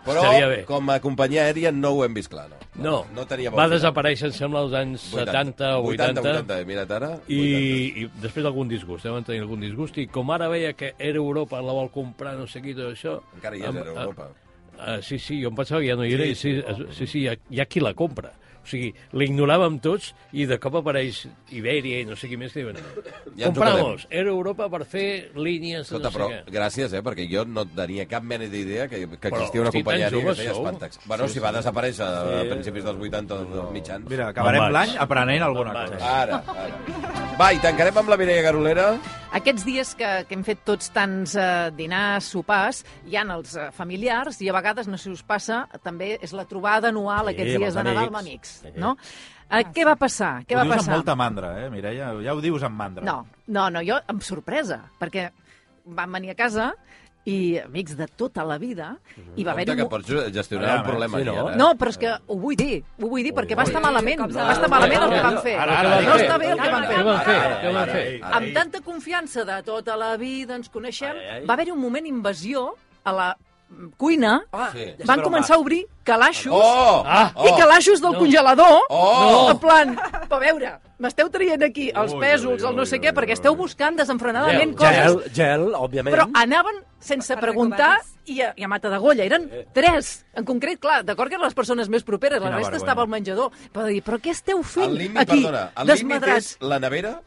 Speaker 2: Però,
Speaker 4: Seria bé.
Speaker 2: com a companyia aèria, no ho hem vist clar, no?
Speaker 4: No,
Speaker 2: no tenia bon
Speaker 4: va
Speaker 2: final.
Speaker 4: desaparèixer, em sembla, als anys 70 o 80.
Speaker 2: 80, 80, mira't eh, ara.
Speaker 4: I, I després d'algun disgust, eh, van tenir algun disgust, i com ara veia que era Europa, la vol comprar, no sé qui, tot això...
Speaker 2: Encara hi és,
Speaker 4: em-
Speaker 2: era Europa.
Speaker 4: Ah, sí, sí, jo em pensava que ja no hi era, i sí, sí, sí, sí hi, ha, hi ha qui la compra. O sigui, l'ignoràvem tots i de cop apareix Ibèria i no sé qui més que diuen...
Speaker 2: Ja ens ho
Speaker 4: Compramos, era Europa per fer línies... de
Speaker 2: Escolta,
Speaker 4: no sé
Speaker 2: però
Speaker 4: què.
Speaker 2: gràcies, eh, perquè jo no tenia cap mena d'idea que, que
Speaker 4: Però,
Speaker 2: existia una
Speaker 4: hosti,
Speaker 2: companyia
Speaker 4: tan
Speaker 2: aèria que
Speaker 4: joves
Speaker 2: feia
Speaker 4: sou.
Speaker 2: Spantax. Bueno, si va desaparèixer a principis dels 80 o dels mitjans.
Speaker 5: Mira, acabarem
Speaker 4: Me'n vaig.
Speaker 5: l'any aprenent alguna
Speaker 4: Me'n vaig.
Speaker 5: cosa.
Speaker 2: Ara, ara. Va, i tancarem amb la Mireia Garolera.
Speaker 3: Aquests dies que, que hem fet tots tants eh, dinars, sopars, hi han els eh, familiars i a vegades, no sé si us passa, també és la trobada anual
Speaker 4: Sí,
Speaker 3: aquests
Speaker 4: amb
Speaker 3: dies
Speaker 4: els
Speaker 3: de Nadal amb
Speaker 4: amics.
Speaker 3: amics,
Speaker 4: Sí.
Speaker 3: no? Eh, què va passar? Què
Speaker 5: ho
Speaker 3: va
Speaker 5: dius
Speaker 3: passar?
Speaker 5: amb molta mandra, eh, Mireia? Ja ho dius amb mandra.
Speaker 3: No, no, no, jo amb sorpresa, perquè vam venir a casa i amics de tota la vida, i va haver-hi...
Speaker 2: Compte que
Speaker 3: un-
Speaker 2: pots gestionar
Speaker 5: Ara,
Speaker 2: el problema.
Speaker 6: sí, no?
Speaker 2: Aquí, ara. eh?
Speaker 3: No, però és que ho vull dir, ho vull dir, perquè va estar malament,
Speaker 7: cops de-
Speaker 3: va estar malament el que van fer.
Speaker 5: Ara, ara,
Speaker 3: No
Speaker 5: ara.
Speaker 3: està bé el que van
Speaker 4: Què van
Speaker 3: fer.
Speaker 4: fer?
Speaker 2: Ara,
Speaker 4: Què
Speaker 2: ara,
Speaker 4: van fer?
Speaker 5: ara.
Speaker 3: Amb tanta confiança de tota la vida, ens coneixem, va haver-hi un moment invasió a la mm, cuina,
Speaker 2: Sí.
Speaker 3: van començar a obrir calaixos
Speaker 2: Oh!
Speaker 4: Ah!
Speaker 2: oh!
Speaker 3: i calaixos del
Speaker 4: No.
Speaker 3: congelador,
Speaker 2: Oh!
Speaker 3: en plan, a veure, m'esteu traient aquí els
Speaker 5: Ui,
Speaker 3: pèsols,
Speaker 5: ui,
Speaker 3: el no
Speaker 5: ui,
Speaker 3: sé què,
Speaker 5: ui,
Speaker 3: perquè
Speaker 5: ui.
Speaker 3: esteu buscant desenfrenadament
Speaker 4: Gel,
Speaker 3: coses,
Speaker 6: Gel, gel, òbviament.
Speaker 3: però ah, anaven sense
Speaker 1: Per
Speaker 3: preguntar
Speaker 1: recomanes.
Speaker 3: i a, i a mata de golla. Eren
Speaker 2: Eh.
Speaker 3: tres, en concret, clar, d'acord que eren les persones més properes, la
Speaker 5: Quina
Speaker 3: resta
Speaker 5: vergonya.
Speaker 3: estava al menjador. Però dir, però què esteu fent
Speaker 2: El límit,
Speaker 3: aquí,
Speaker 2: perdona, el límit és
Speaker 3: desmadrats?
Speaker 2: la nevera?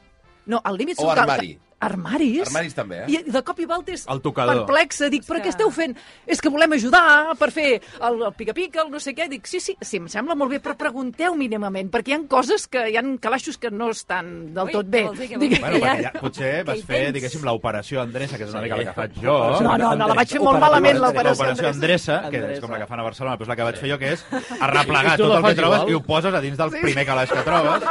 Speaker 3: No, el límit
Speaker 2: O
Speaker 3: són cal-
Speaker 2: armari.
Speaker 3: Armaris?
Speaker 2: Armaris també, eh?
Speaker 3: I de cop i volta és
Speaker 5: El tocador.
Speaker 3: perplexa. Dic, però
Speaker 1: que-
Speaker 3: què esteu fent? És que volem ajudar per fer el el pica-pica, el no sé què. Dic, sí, sí, sí, em sembla molt bé, però pregunteu mínimament, perquè hi han coses que hi han calaixos que no estan del
Speaker 7: Ui,
Speaker 3: tot bé.
Speaker 7: què vols dir, què
Speaker 3: Dic,
Speaker 7: vols
Speaker 5: Bueno,
Speaker 7: dir?
Speaker 5: perquè ja, potser vas
Speaker 7: hi
Speaker 5: fer,
Speaker 7: tens?
Speaker 5: diguéssim, l'operació Andressa, que és una
Speaker 6: Sí.
Speaker 5: mica la que faig
Speaker 6: Operació
Speaker 5: jo.
Speaker 3: No, no, no, la vaig fer molt
Speaker 6: Operació
Speaker 3: malament,
Speaker 6: Andressa.
Speaker 3: l'operació
Speaker 5: L'operació Andressa, que és
Speaker 6: Andressa.
Speaker 5: com la que fan a Barcelona, però és la que vaig fer jo, que és arreplegar
Speaker 4: I tu
Speaker 5: tot
Speaker 4: la
Speaker 5: el que
Speaker 4: fas
Speaker 5: trobes
Speaker 4: igual?
Speaker 5: i ho poses a dins del primer calaix que trobes.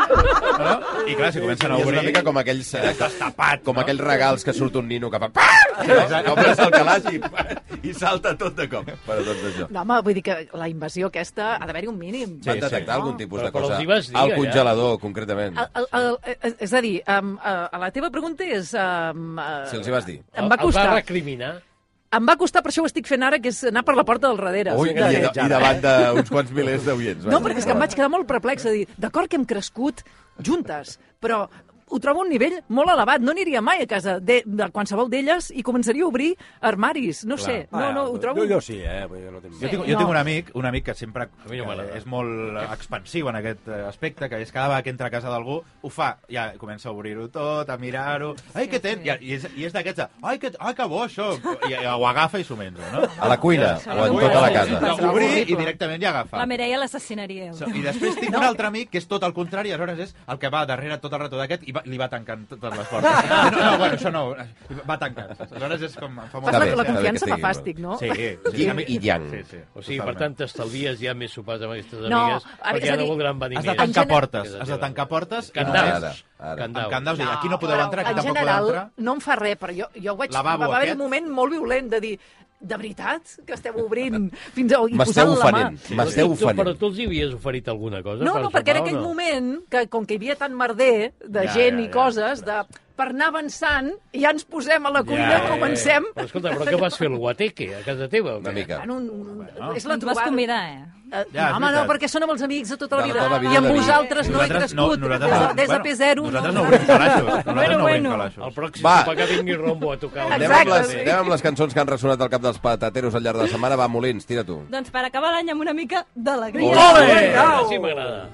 Speaker 5: No? I clar, si comencen a
Speaker 2: I és una
Speaker 5: obrir...
Speaker 2: mica com aquells... eh,
Speaker 5: tapat,
Speaker 2: Com
Speaker 5: no?
Speaker 2: aquells regals que surt un nino que fa... No? Obres el calaix i, i salta tot de cop. Però tot això.
Speaker 3: No, home, vull dir que la invasió aquesta ha d'haver-hi un mínim.
Speaker 2: Van detectar
Speaker 3: sí.
Speaker 2: algun tipus de
Speaker 4: Ah, Però- però
Speaker 2: cosa
Speaker 4: els hi vas dir,
Speaker 2: al
Speaker 4: ja.
Speaker 2: congelador, concretament.
Speaker 3: El, el, el, eh, és a dir, um, uh, la teva pregunta és... Um, uh,
Speaker 2: Si els hi vas dir.
Speaker 3: Em va costar.
Speaker 4: El va recriminar.
Speaker 3: Em va costar, per això ho estic fent ara, que és anar per la porta del darrere.
Speaker 2: Ui, i,
Speaker 3: Sí, de-
Speaker 2: i davant d'uns quants milers d'oients.
Speaker 3: No,
Speaker 2: vaja.
Speaker 3: perquè és que em vaig quedar molt perplexa. Dir, d'acord que hem crescut juntes, però ho trobo a un nivell molt elevat. No aniria mai a casa de, de qualsevol d'elles i començaria a obrir armaris. No sé, no, no,
Speaker 2: Ah,
Speaker 3: ho trobo...
Speaker 6: Ah, Jo, jo sí, eh? Vull dir, no tinc...
Speaker 5: Jo tinc, jo
Speaker 3: No.
Speaker 5: tinc un amic, un amic que sempre
Speaker 4: mi no
Speaker 5: que
Speaker 4: m'agrada.
Speaker 5: és molt eh, expansiu en aquest eh, aspecte, que és cada vegada que entra a casa d'algú, ho fa, ja comença a obrir-ho tot, a mirar-ho, ai, què tens? I, i és, i és d'aquests, de, ai, que, ai, que bo, això! I, i ho agafa i s'ho menja, no?
Speaker 2: A la cuina, o en tota la casa.
Speaker 5: Ho obrir i directament ja agafa.
Speaker 7: La Mireia l'assassinaria.
Speaker 5: So, I després tinc no. un altre amic que és tot el contrari, aleshores és el que va darrere tot el rato d'aquest i va, li va tancant totes les portes. No, no, bueno, això no, I va tancant. Aleshores és com... Em fa
Speaker 3: Fas
Speaker 5: molta
Speaker 2: Està
Speaker 3: la,
Speaker 2: bé,
Speaker 3: la
Speaker 2: està bé que
Speaker 3: confiança fa
Speaker 2: estigui,
Speaker 3: fàstic, no?
Speaker 5: Sí, sí, sí.
Speaker 2: Yin i yang.
Speaker 5: Sí, sí.
Speaker 4: O sigui, per tant, t'estalvies ja més sopars amb aquestes
Speaker 3: No,
Speaker 4: amigues,
Speaker 3: a veure,
Speaker 4: perquè
Speaker 3: és a
Speaker 4: ja no
Speaker 3: dir,
Speaker 4: voldran venir
Speaker 5: Has de
Speaker 4: més.
Speaker 5: tancar
Speaker 3: En gener-
Speaker 5: portes, has de tancar portes i
Speaker 4: Candals.
Speaker 5: només...
Speaker 2: Ara, ara.
Speaker 5: Amb candals, no, aquí no podeu
Speaker 3: Ah, però
Speaker 5: entrar, aquí
Speaker 3: en
Speaker 5: tampoc
Speaker 3: general,
Speaker 5: podeu entrar.
Speaker 3: no em fa res, però jo, jo vaig...
Speaker 5: Lavabo
Speaker 3: va haver
Speaker 5: aquest?
Speaker 3: un moment molt violent de dir de veritat que esteu obrint fins a... i
Speaker 2: M'esteu
Speaker 3: posant la mà.
Speaker 2: ofenent, m'esteu
Speaker 4: Tu- tu- Però
Speaker 2: ofenent.
Speaker 4: tu els hi havies oferit alguna cosa?
Speaker 3: No,
Speaker 4: per
Speaker 3: no, perquè en
Speaker 4: sopar o
Speaker 3: aquell
Speaker 4: no?
Speaker 3: moment, que com que hi havia tant merder de
Speaker 5: Ja,
Speaker 3: gent
Speaker 5: ja,
Speaker 3: i
Speaker 5: ja,
Speaker 3: coses, de per anar avançant, ja ens posem a la cuina,
Speaker 5: Ja, ja, ja.
Speaker 3: comencem...
Speaker 4: Però escolta, però què vas fer, el guateque, a casa teva? o què?
Speaker 2: Una mica.
Speaker 3: En un, és la
Speaker 7: Ens vas
Speaker 3: trobada.
Speaker 7: convidar, eh?
Speaker 3: Eh,
Speaker 5: Ja, és
Speaker 3: home, no,
Speaker 5: veritat.
Speaker 3: perquè són amb els amics de tota la
Speaker 2: De
Speaker 3: vida.
Speaker 2: tota la vida
Speaker 3: I amb
Speaker 2: de
Speaker 3: vosaltres no he
Speaker 5: Nosaltres
Speaker 3: crescut. des, de, des de
Speaker 5: bueno,
Speaker 3: P0.
Speaker 5: Nosaltres no obrim calaixos. Nosaltres no obrim
Speaker 7: bueno.
Speaker 4: El
Speaker 5: calaixos.
Speaker 4: pròxim
Speaker 2: Va.
Speaker 4: sopar que vingui Rombo a tocar.
Speaker 2: Anem amb,
Speaker 3: Exacte,
Speaker 2: les,
Speaker 3: sí.
Speaker 2: anem amb les cançons que han ressonat al cap dels patateros al llarg de la setmana. Va, Molins, tira tu.
Speaker 7: Doncs per acabar l'any amb una mica d'alegria. Oh!
Speaker 2: Ole!
Speaker 4: Ole! Sí, m'agrada.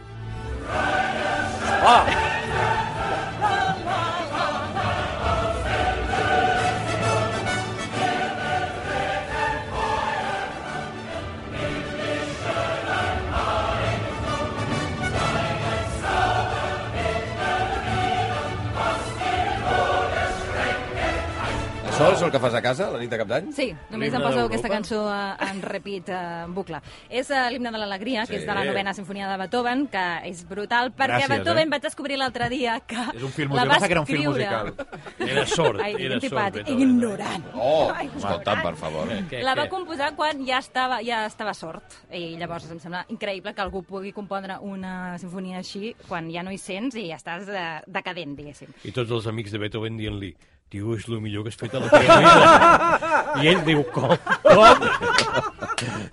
Speaker 2: Això és el que fas a casa, la nit de cap d'any?
Speaker 7: Sí, només em
Speaker 4: L'himne
Speaker 7: poso
Speaker 4: d'Europa.
Speaker 7: aquesta cançó eh, en repeat, eh, en bucle. És eh, l'himne de l'alegria, que
Speaker 2: Sí.
Speaker 7: és de la novena sinfonia de Beethoven, que és brutal, perquè
Speaker 5: Gràcies,
Speaker 7: Beethoven
Speaker 5: eh?
Speaker 7: vaig descobrir l'altre dia que
Speaker 5: És un film
Speaker 7: la
Speaker 5: musical.
Speaker 7: va
Speaker 5: Pensava que era un film
Speaker 7: escriure.
Speaker 5: musical.
Speaker 4: Era sort, era
Speaker 7: Ai, quin
Speaker 4: sort.
Speaker 7: tipat,
Speaker 4: Beethoven. eh?
Speaker 7: ignorant.
Speaker 2: Oh, escolta'm, per favor. eh.
Speaker 4: Què,
Speaker 7: La va
Speaker 4: què?
Speaker 7: composar quan ja estava, ja estava sort. I llavors em sembla increïble que algú pugui compondre una sinfonia així quan ja no hi sents i estàs eh, decadent, diguéssim.
Speaker 4: I tots els amics de Beethoven dient-li tio, és el millor que has fet a la teva vida. I ell diu, com? Com?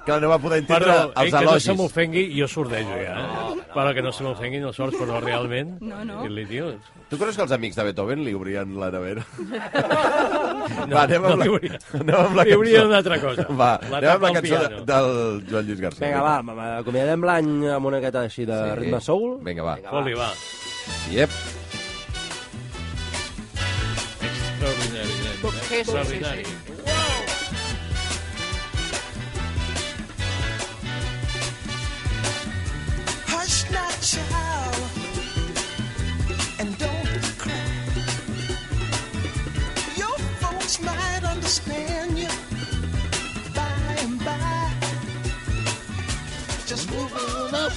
Speaker 2: Que no va poder entendre
Speaker 4: Perdó, eh,
Speaker 2: els
Speaker 4: que no se
Speaker 2: elogis.
Speaker 4: m'ofengui, jo sordejo ja. Eh? Però que no se m'ofengui, no sorts, però realment...
Speaker 7: No, no.
Speaker 4: Dir-li, tio,
Speaker 2: Tu creus que els amics de Beethoven li obrien la nevera? Va, anem
Speaker 4: no
Speaker 2: amb la,
Speaker 4: li obrien.
Speaker 2: anem amb la
Speaker 4: Li obrien
Speaker 2: cançó.
Speaker 4: una altra cosa.
Speaker 2: Va,
Speaker 4: La
Speaker 2: anem amb
Speaker 4: tapa
Speaker 2: la
Speaker 4: al
Speaker 2: cançó de-
Speaker 4: piano.
Speaker 2: del Joan Lluís García.
Speaker 6: Vinga, va, ma- ma- acomiadem l'any amb una miqueta així de
Speaker 2: Sí.
Speaker 6: ritme soul.
Speaker 2: Vinga, va.
Speaker 4: Foli, va.
Speaker 2: Iep.
Speaker 4: Extraordinari.
Speaker 3: Toqué,
Speaker 4: Extraordinari.
Speaker 8: Hush not, child, and don't cry. understand you by and by. Just move on up.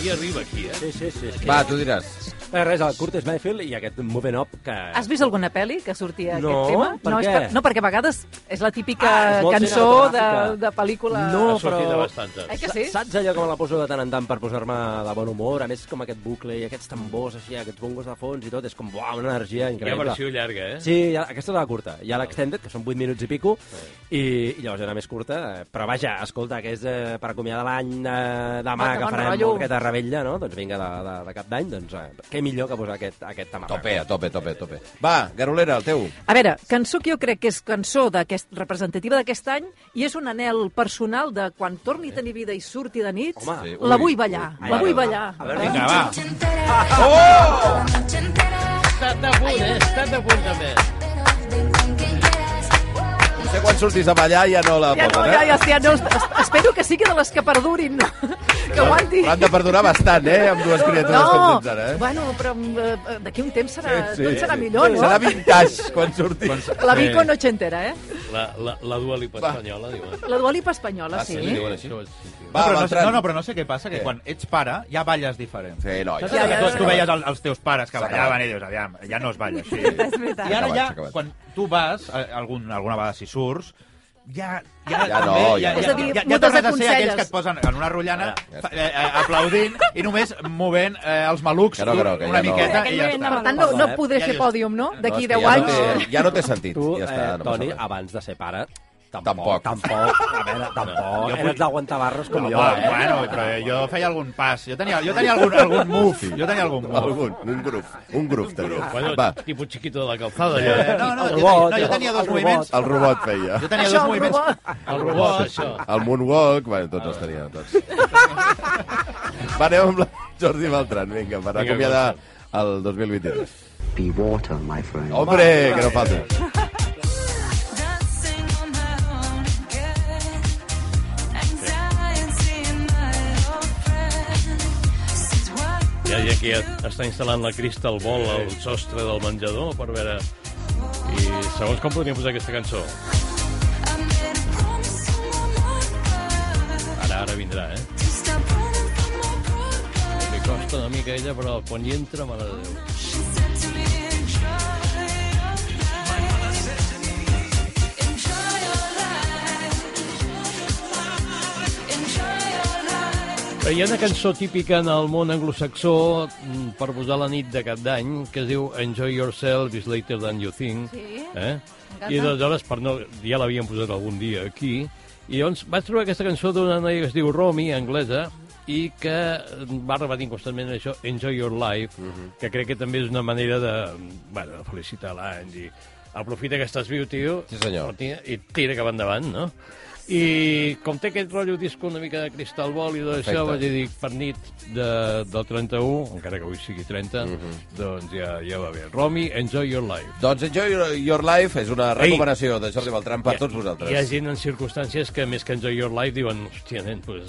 Speaker 4: Qui arriba aquí, eh?
Speaker 6: Sí, sí, sí. sí.
Speaker 2: Va, tu diràs.
Speaker 6: Eh, Res, el Curtis Mayfield i aquest Moving Up que...
Speaker 3: Has vist alguna pel·li que sortia
Speaker 6: No,
Speaker 3: aquest tema?
Speaker 6: per
Speaker 3: no, és
Speaker 6: què?
Speaker 3: per- no, perquè a vegades és la típica
Speaker 6: Ah, és molt
Speaker 3: cançó de,
Speaker 6: cinematogràfica.
Speaker 3: de pel·lícula...
Speaker 6: No,
Speaker 4: Ha sortit
Speaker 6: però-
Speaker 4: de eh? bastantes.
Speaker 3: Ai, que sí?
Speaker 6: Saps allò que me la poso de tant en tant per posar-me de bon humor? A més, com aquest bucle i aquests tambors així, aquests bongos de fons i tot, és com uau, una
Speaker 4: Hi
Speaker 6: energia
Speaker 4: ha
Speaker 6: increïble.
Speaker 4: versió llarga, eh?
Speaker 6: Sí, hi ha, aquesta és la curta. Hi ha l'extended, que són 8 minuts i pico, i, i llavors era més curta. eh, Però vaja, escolta, que és eh, per acomiadar l'any eh, demà,
Speaker 3: Ah, que
Speaker 6: que
Speaker 3: bon
Speaker 6: farem
Speaker 3: rotllo.
Speaker 6: aquesta rebella, no? Doncs vinga, de, de, de cap d'any, doncs eh, què millor que posar aquest, aquest tamarra.
Speaker 2: Tope, a tope, tope, tope. Va, Garolera, el teu.
Speaker 3: A veure, cançó que jo crec que és cançó d'aquest, representativa d'aquest any i és un anel personal de quan torni a tenir vida i surti de nit,
Speaker 6: Home.
Speaker 2: Sí, ui,
Speaker 3: la vull ballar,
Speaker 2: ui,
Speaker 3: la
Speaker 2: mare
Speaker 3: vull
Speaker 2: meva.
Speaker 3: ballar.
Speaker 6: A veure,
Speaker 5: Vinga, va.
Speaker 4: Estàs a punt, eh? Estàs a punt, també.
Speaker 2: Potser quan surtis a ballar ja no la
Speaker 3: Ja no,
Speaker 2: posen,
Speaker 3: ja, ja,
Speaker 2: eh?
Speaker 3: ja, no, es- espero que sigui de les que perdurin, que aguanti.
Speaker 2: L'han de perdonar bastant, eh? Amb dues criatures com
Speaker 3: No,
Speaker 2: tens ara, eh?
Speaker 3: bueno, però eh, d'aquí un temps serà,
Speaker 2: Sí, sí,
Speaker 3: sí, tot serà
Speaker 2: sí.
Speaker 3: millor, no?
Speaker 2: Serà vintage quan surti.
Speaker 3: La Vico no xentera, eh?
Speaker 4: La, la, la Dua Lipa
Speaker 2: Va.
Speaker 4: espanyola, diuen.
Speaker 3: La Dua Lipa espanyola,
Speaker 2: Ah,
Speaker 3: sí.
Speaker 2: sí, li diuen així.
Speaker 4: Això és- sí, sí.
Speaker 5: no,
Speaker 2: Va,
Speaker 5: però no, sé,
Speaker 2: Bertran.
Speaker 5: no, no, però no sé què passa, que
Speaker 2: Què?
Speaker 5: quan ets pare ja balles diferent.
Speaker 2: Sí, noi.
Speaker 5: Saps
Speaker 3: Ja,
Speaker 5: allò
Speaker 3: ja,
Speaker 5: que tu,
Speaker 3: ja.
Speaker 5: tu veies el, els teus pares que
Speaker 2: S'ha
Speaker 5: ballaven
Speaker 2: acabat.
Speaker 5: i dius, aviam, ja no es balla així.
Speaker 7: És veritat.
Speaker 5: I ara ja,
Speaker 2: acabat, s'ha acabat.
Speaker 5: quan tu vas, eh, algun, alguna vegada si surts, ja, ja,
Speaker 2: Ja no, ja no.
Speaker 5: ja,
Speaker 2: És
Speaker 5: ja,
Speaker 2: a
Speaker 3: dir,
Speaker 5: ja,
Speaker 3: no
Speaker 5: ja tornes a ser
Speaker 3: desaconselles.
Speaker 5: aquells que et posen en una rotllana fa- eh, eh, aplaudint i només movent eh, els malucs
Speaker 2: Que no, que no, que
Speaker 5: una
Speaker 2: ja no.
Speaker 5: miqueta
Speaker 7: Aquell
Speaker 5: i ja
Speaker 7: moviment de
Speaker 5: està.
Speaker 3: Per tant, no, no podré
Speaker 5: Ja
Speaker 3: fer
Speaker 5: just-
Speaker 3: pòdium, no?
Speaker 2: No, és
Speaker 3: D'aquí
Speaker 2: que
Speaker 3: 10
Speaker 2: ja
Speaker 3: anys...
Speaker 2: No té, ja no té sentit.
Speaker 6: Tu,
Speaker 2: ja està,
Speaker 6: eh,
Speaker 2: no passa
Speaker 6: Toni,
Speaker 2: res.
Speaker 6: abans de ser pare,
Speaker 2: Tampoc.
Speaker 6: tampoc, tampoc, a veure, tampoc, eres d'aguantar barres com
Speaker 5: Home,
Speaker 6: jo, eh?
Speaker 5: bueno, però jo feia algun pas. Jo tenia, jo tenia algun, algun move. Jo tenia algun move.
Speaker 2: Algun, un grup, un grup tenia.
Speaker 4: Bueno,
Speaker 2: Va,
Speaker 4: tipus chiquito de la calzada, allò.
Speaker 5: Eh, no, no, jo, tenia,
Speaker 6: El robot,
Speaker 5: no, jo tenia dos
Speaker 6: el
Speaker 5: moviments.
Speaker 2: el robot feia.
Speaker 5: Jo tenia
Speaker 3: Això,
Speaker 5: dos
Speaker 3: el
Speaker 5: moviments.
Speaker 3: robot.
Speaker 4: El robot, això.
Speaker 2: El moonwalk, bueno, tots els tenia, tots. Va, anem amb la Jordi Beltran, vinga, per
Speaker 4: Vinga,
Speaker 2: acomiadar el 2023.
Speaker 1: Be water, my friend.
Speaker 2: Hombre, que no falti.
Speaker 9: Dancing on my own again. Anxiety in my old friend. Since what
Speaker 4: Ja, ja que està instal·lant la Crista al vol al sostre del menjador per veure... I segons com podríem posar aquesta cançó?
Speaker 9: I made a promise to my mother
Speaker 4: Ara, ara vindrà, eh?
Speaker 9: to stop running from my problems.
Speaker 4: Li costa una mica a ella, però quan hi entra, mare de Déu.
Speaker 9: She said to me, enjoy your life. Enjoy your life. Enjoy your life.
Speaker 4: Però Eh, hi ha una cançó típica en el món anglosaxó mm, per posar la nit de cap d'any que es diu Enjoy Yourself is Later Than You Think.
Speaker 7: Sí.
Speaker 4: Eh?
Speaker 7: M'encanta.
Speaker 4: I aleshores, per no, ja l'havíem posat algun dia aquí, i llavors vaig trobar aquesta cançó d'una noia que es diu Romy, anglesa, i que va rebatint constantment això, Enjoy Your Life,
Speaker 2: Mhm.
Speaker 4: que crec que també és una manera de, bueno, de felicitar l'any, i aprofita que estàs viu, tio,
Speaker 2: Sí, senyor.
Speaker 4: tira- i tira cap endavant, no? I com té aquest rotllo disco una mica de cristal bol i tot
Speaker 2: Perfecte.
Speaker 4: això, vaig dir, per nit de, del 31, encara que avui sigui 30,
Speaker 2: Mhm.
Speaker 4: doncs ja, ja va bé. Romy, enjoy your life.
Speaker 2: Doncs Enjoy Your- Your Life és una
Speaker 4: Ei.
Speaker 2: recomanació de Jordi Beltran per
Speaker 4: Hi ha-
Speaker 2: tots vosaltres.
Speaker 4: Hi ha gent en circumstàncies que més que enjoy your life diuen, hòstia, nen, pues,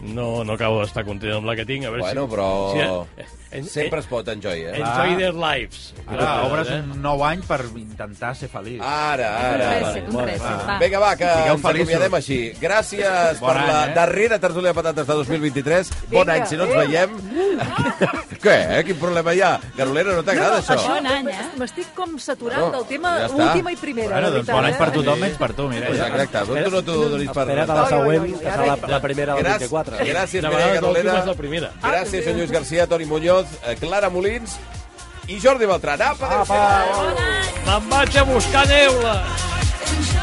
Speaker 4: no, no acabo d'estar content amb la que tinc. A veure
Speaker 2: Bueno,
Speaker 4: si,
Speaker 2: però
Speaker 4: si, en,
Speaker 2: Sempre es pot enjoy, eh?
Speaker 4: Enjoy their lives. Eh?
Speaker 5: Ara obres un nou any per intentar ser feliç.
Speaker 2: Ara,
Speaker 4: Ah,
Speaker 2: ara.
Speaker 7: Un
Speaker 2: ara.
Speaker 7: clàssic, un clàssic, va.
Speaker 2: Vinga, va, que
Speaker 5: Sigueu
Speaker 2: ens
Speaker 5: feliços.
Speaker 2: acomiadem així. Gràcies
Speaker 5: Bon
Speaker 2: per
Speaker 5: any,
Speaker 2: la
Speaker 5: eh?
Speaker 2: darrera tertúlia de patates de 2023. Bon
Speaker 3: Vinga,
Speaker 2: any, si no ens
Speaker 3: adéu.
Speaker 2: veiem... Què, eh? Quin problema hi ha? Garolera, no t'agrada, això?
Speaker 7: Bon any, eh?
Speaker 3: M'estic com saturant
Speaker 2: Bueno,
Speaker 3: del tema
Speaker 2: ja està.
Speaker 3: última i primera.
Speaker 5: Bueno,
Speaker 3: de
Speaker 5: doncs
Speaker 3: veritat,
Speaker 5: bon any per
Speaker 3: eh?
Speaker 5: tothom, menys per tu, mira.
Speaker 2: Pues
Speaker 5: Ja.
Speaker 2: exacte, doncs tu no t'ho donis per...
Speaker 6: Espera't a la següent,
Speaker 3: Oi, oi, oi,
Speaker 6: que serà la, la primera del
Speaker 2: Gràcies,
Speaker 6: 24.
Speaker 2: gràcies
Speaker 4: De
Speaker 2: Mireia
Speaker 4: vegades l'última
Speaker 2: Garolera.
Speaker 4: és la primera.
Speaker 2: Gràcies, senyor Lluís García, Toni Muñoz, eh, Clara Molins i Jordi Beltran. Apa, adéu-siau.
Speaker 4: Me'n vaig a buscar neules!
Speaker 9: Enjoy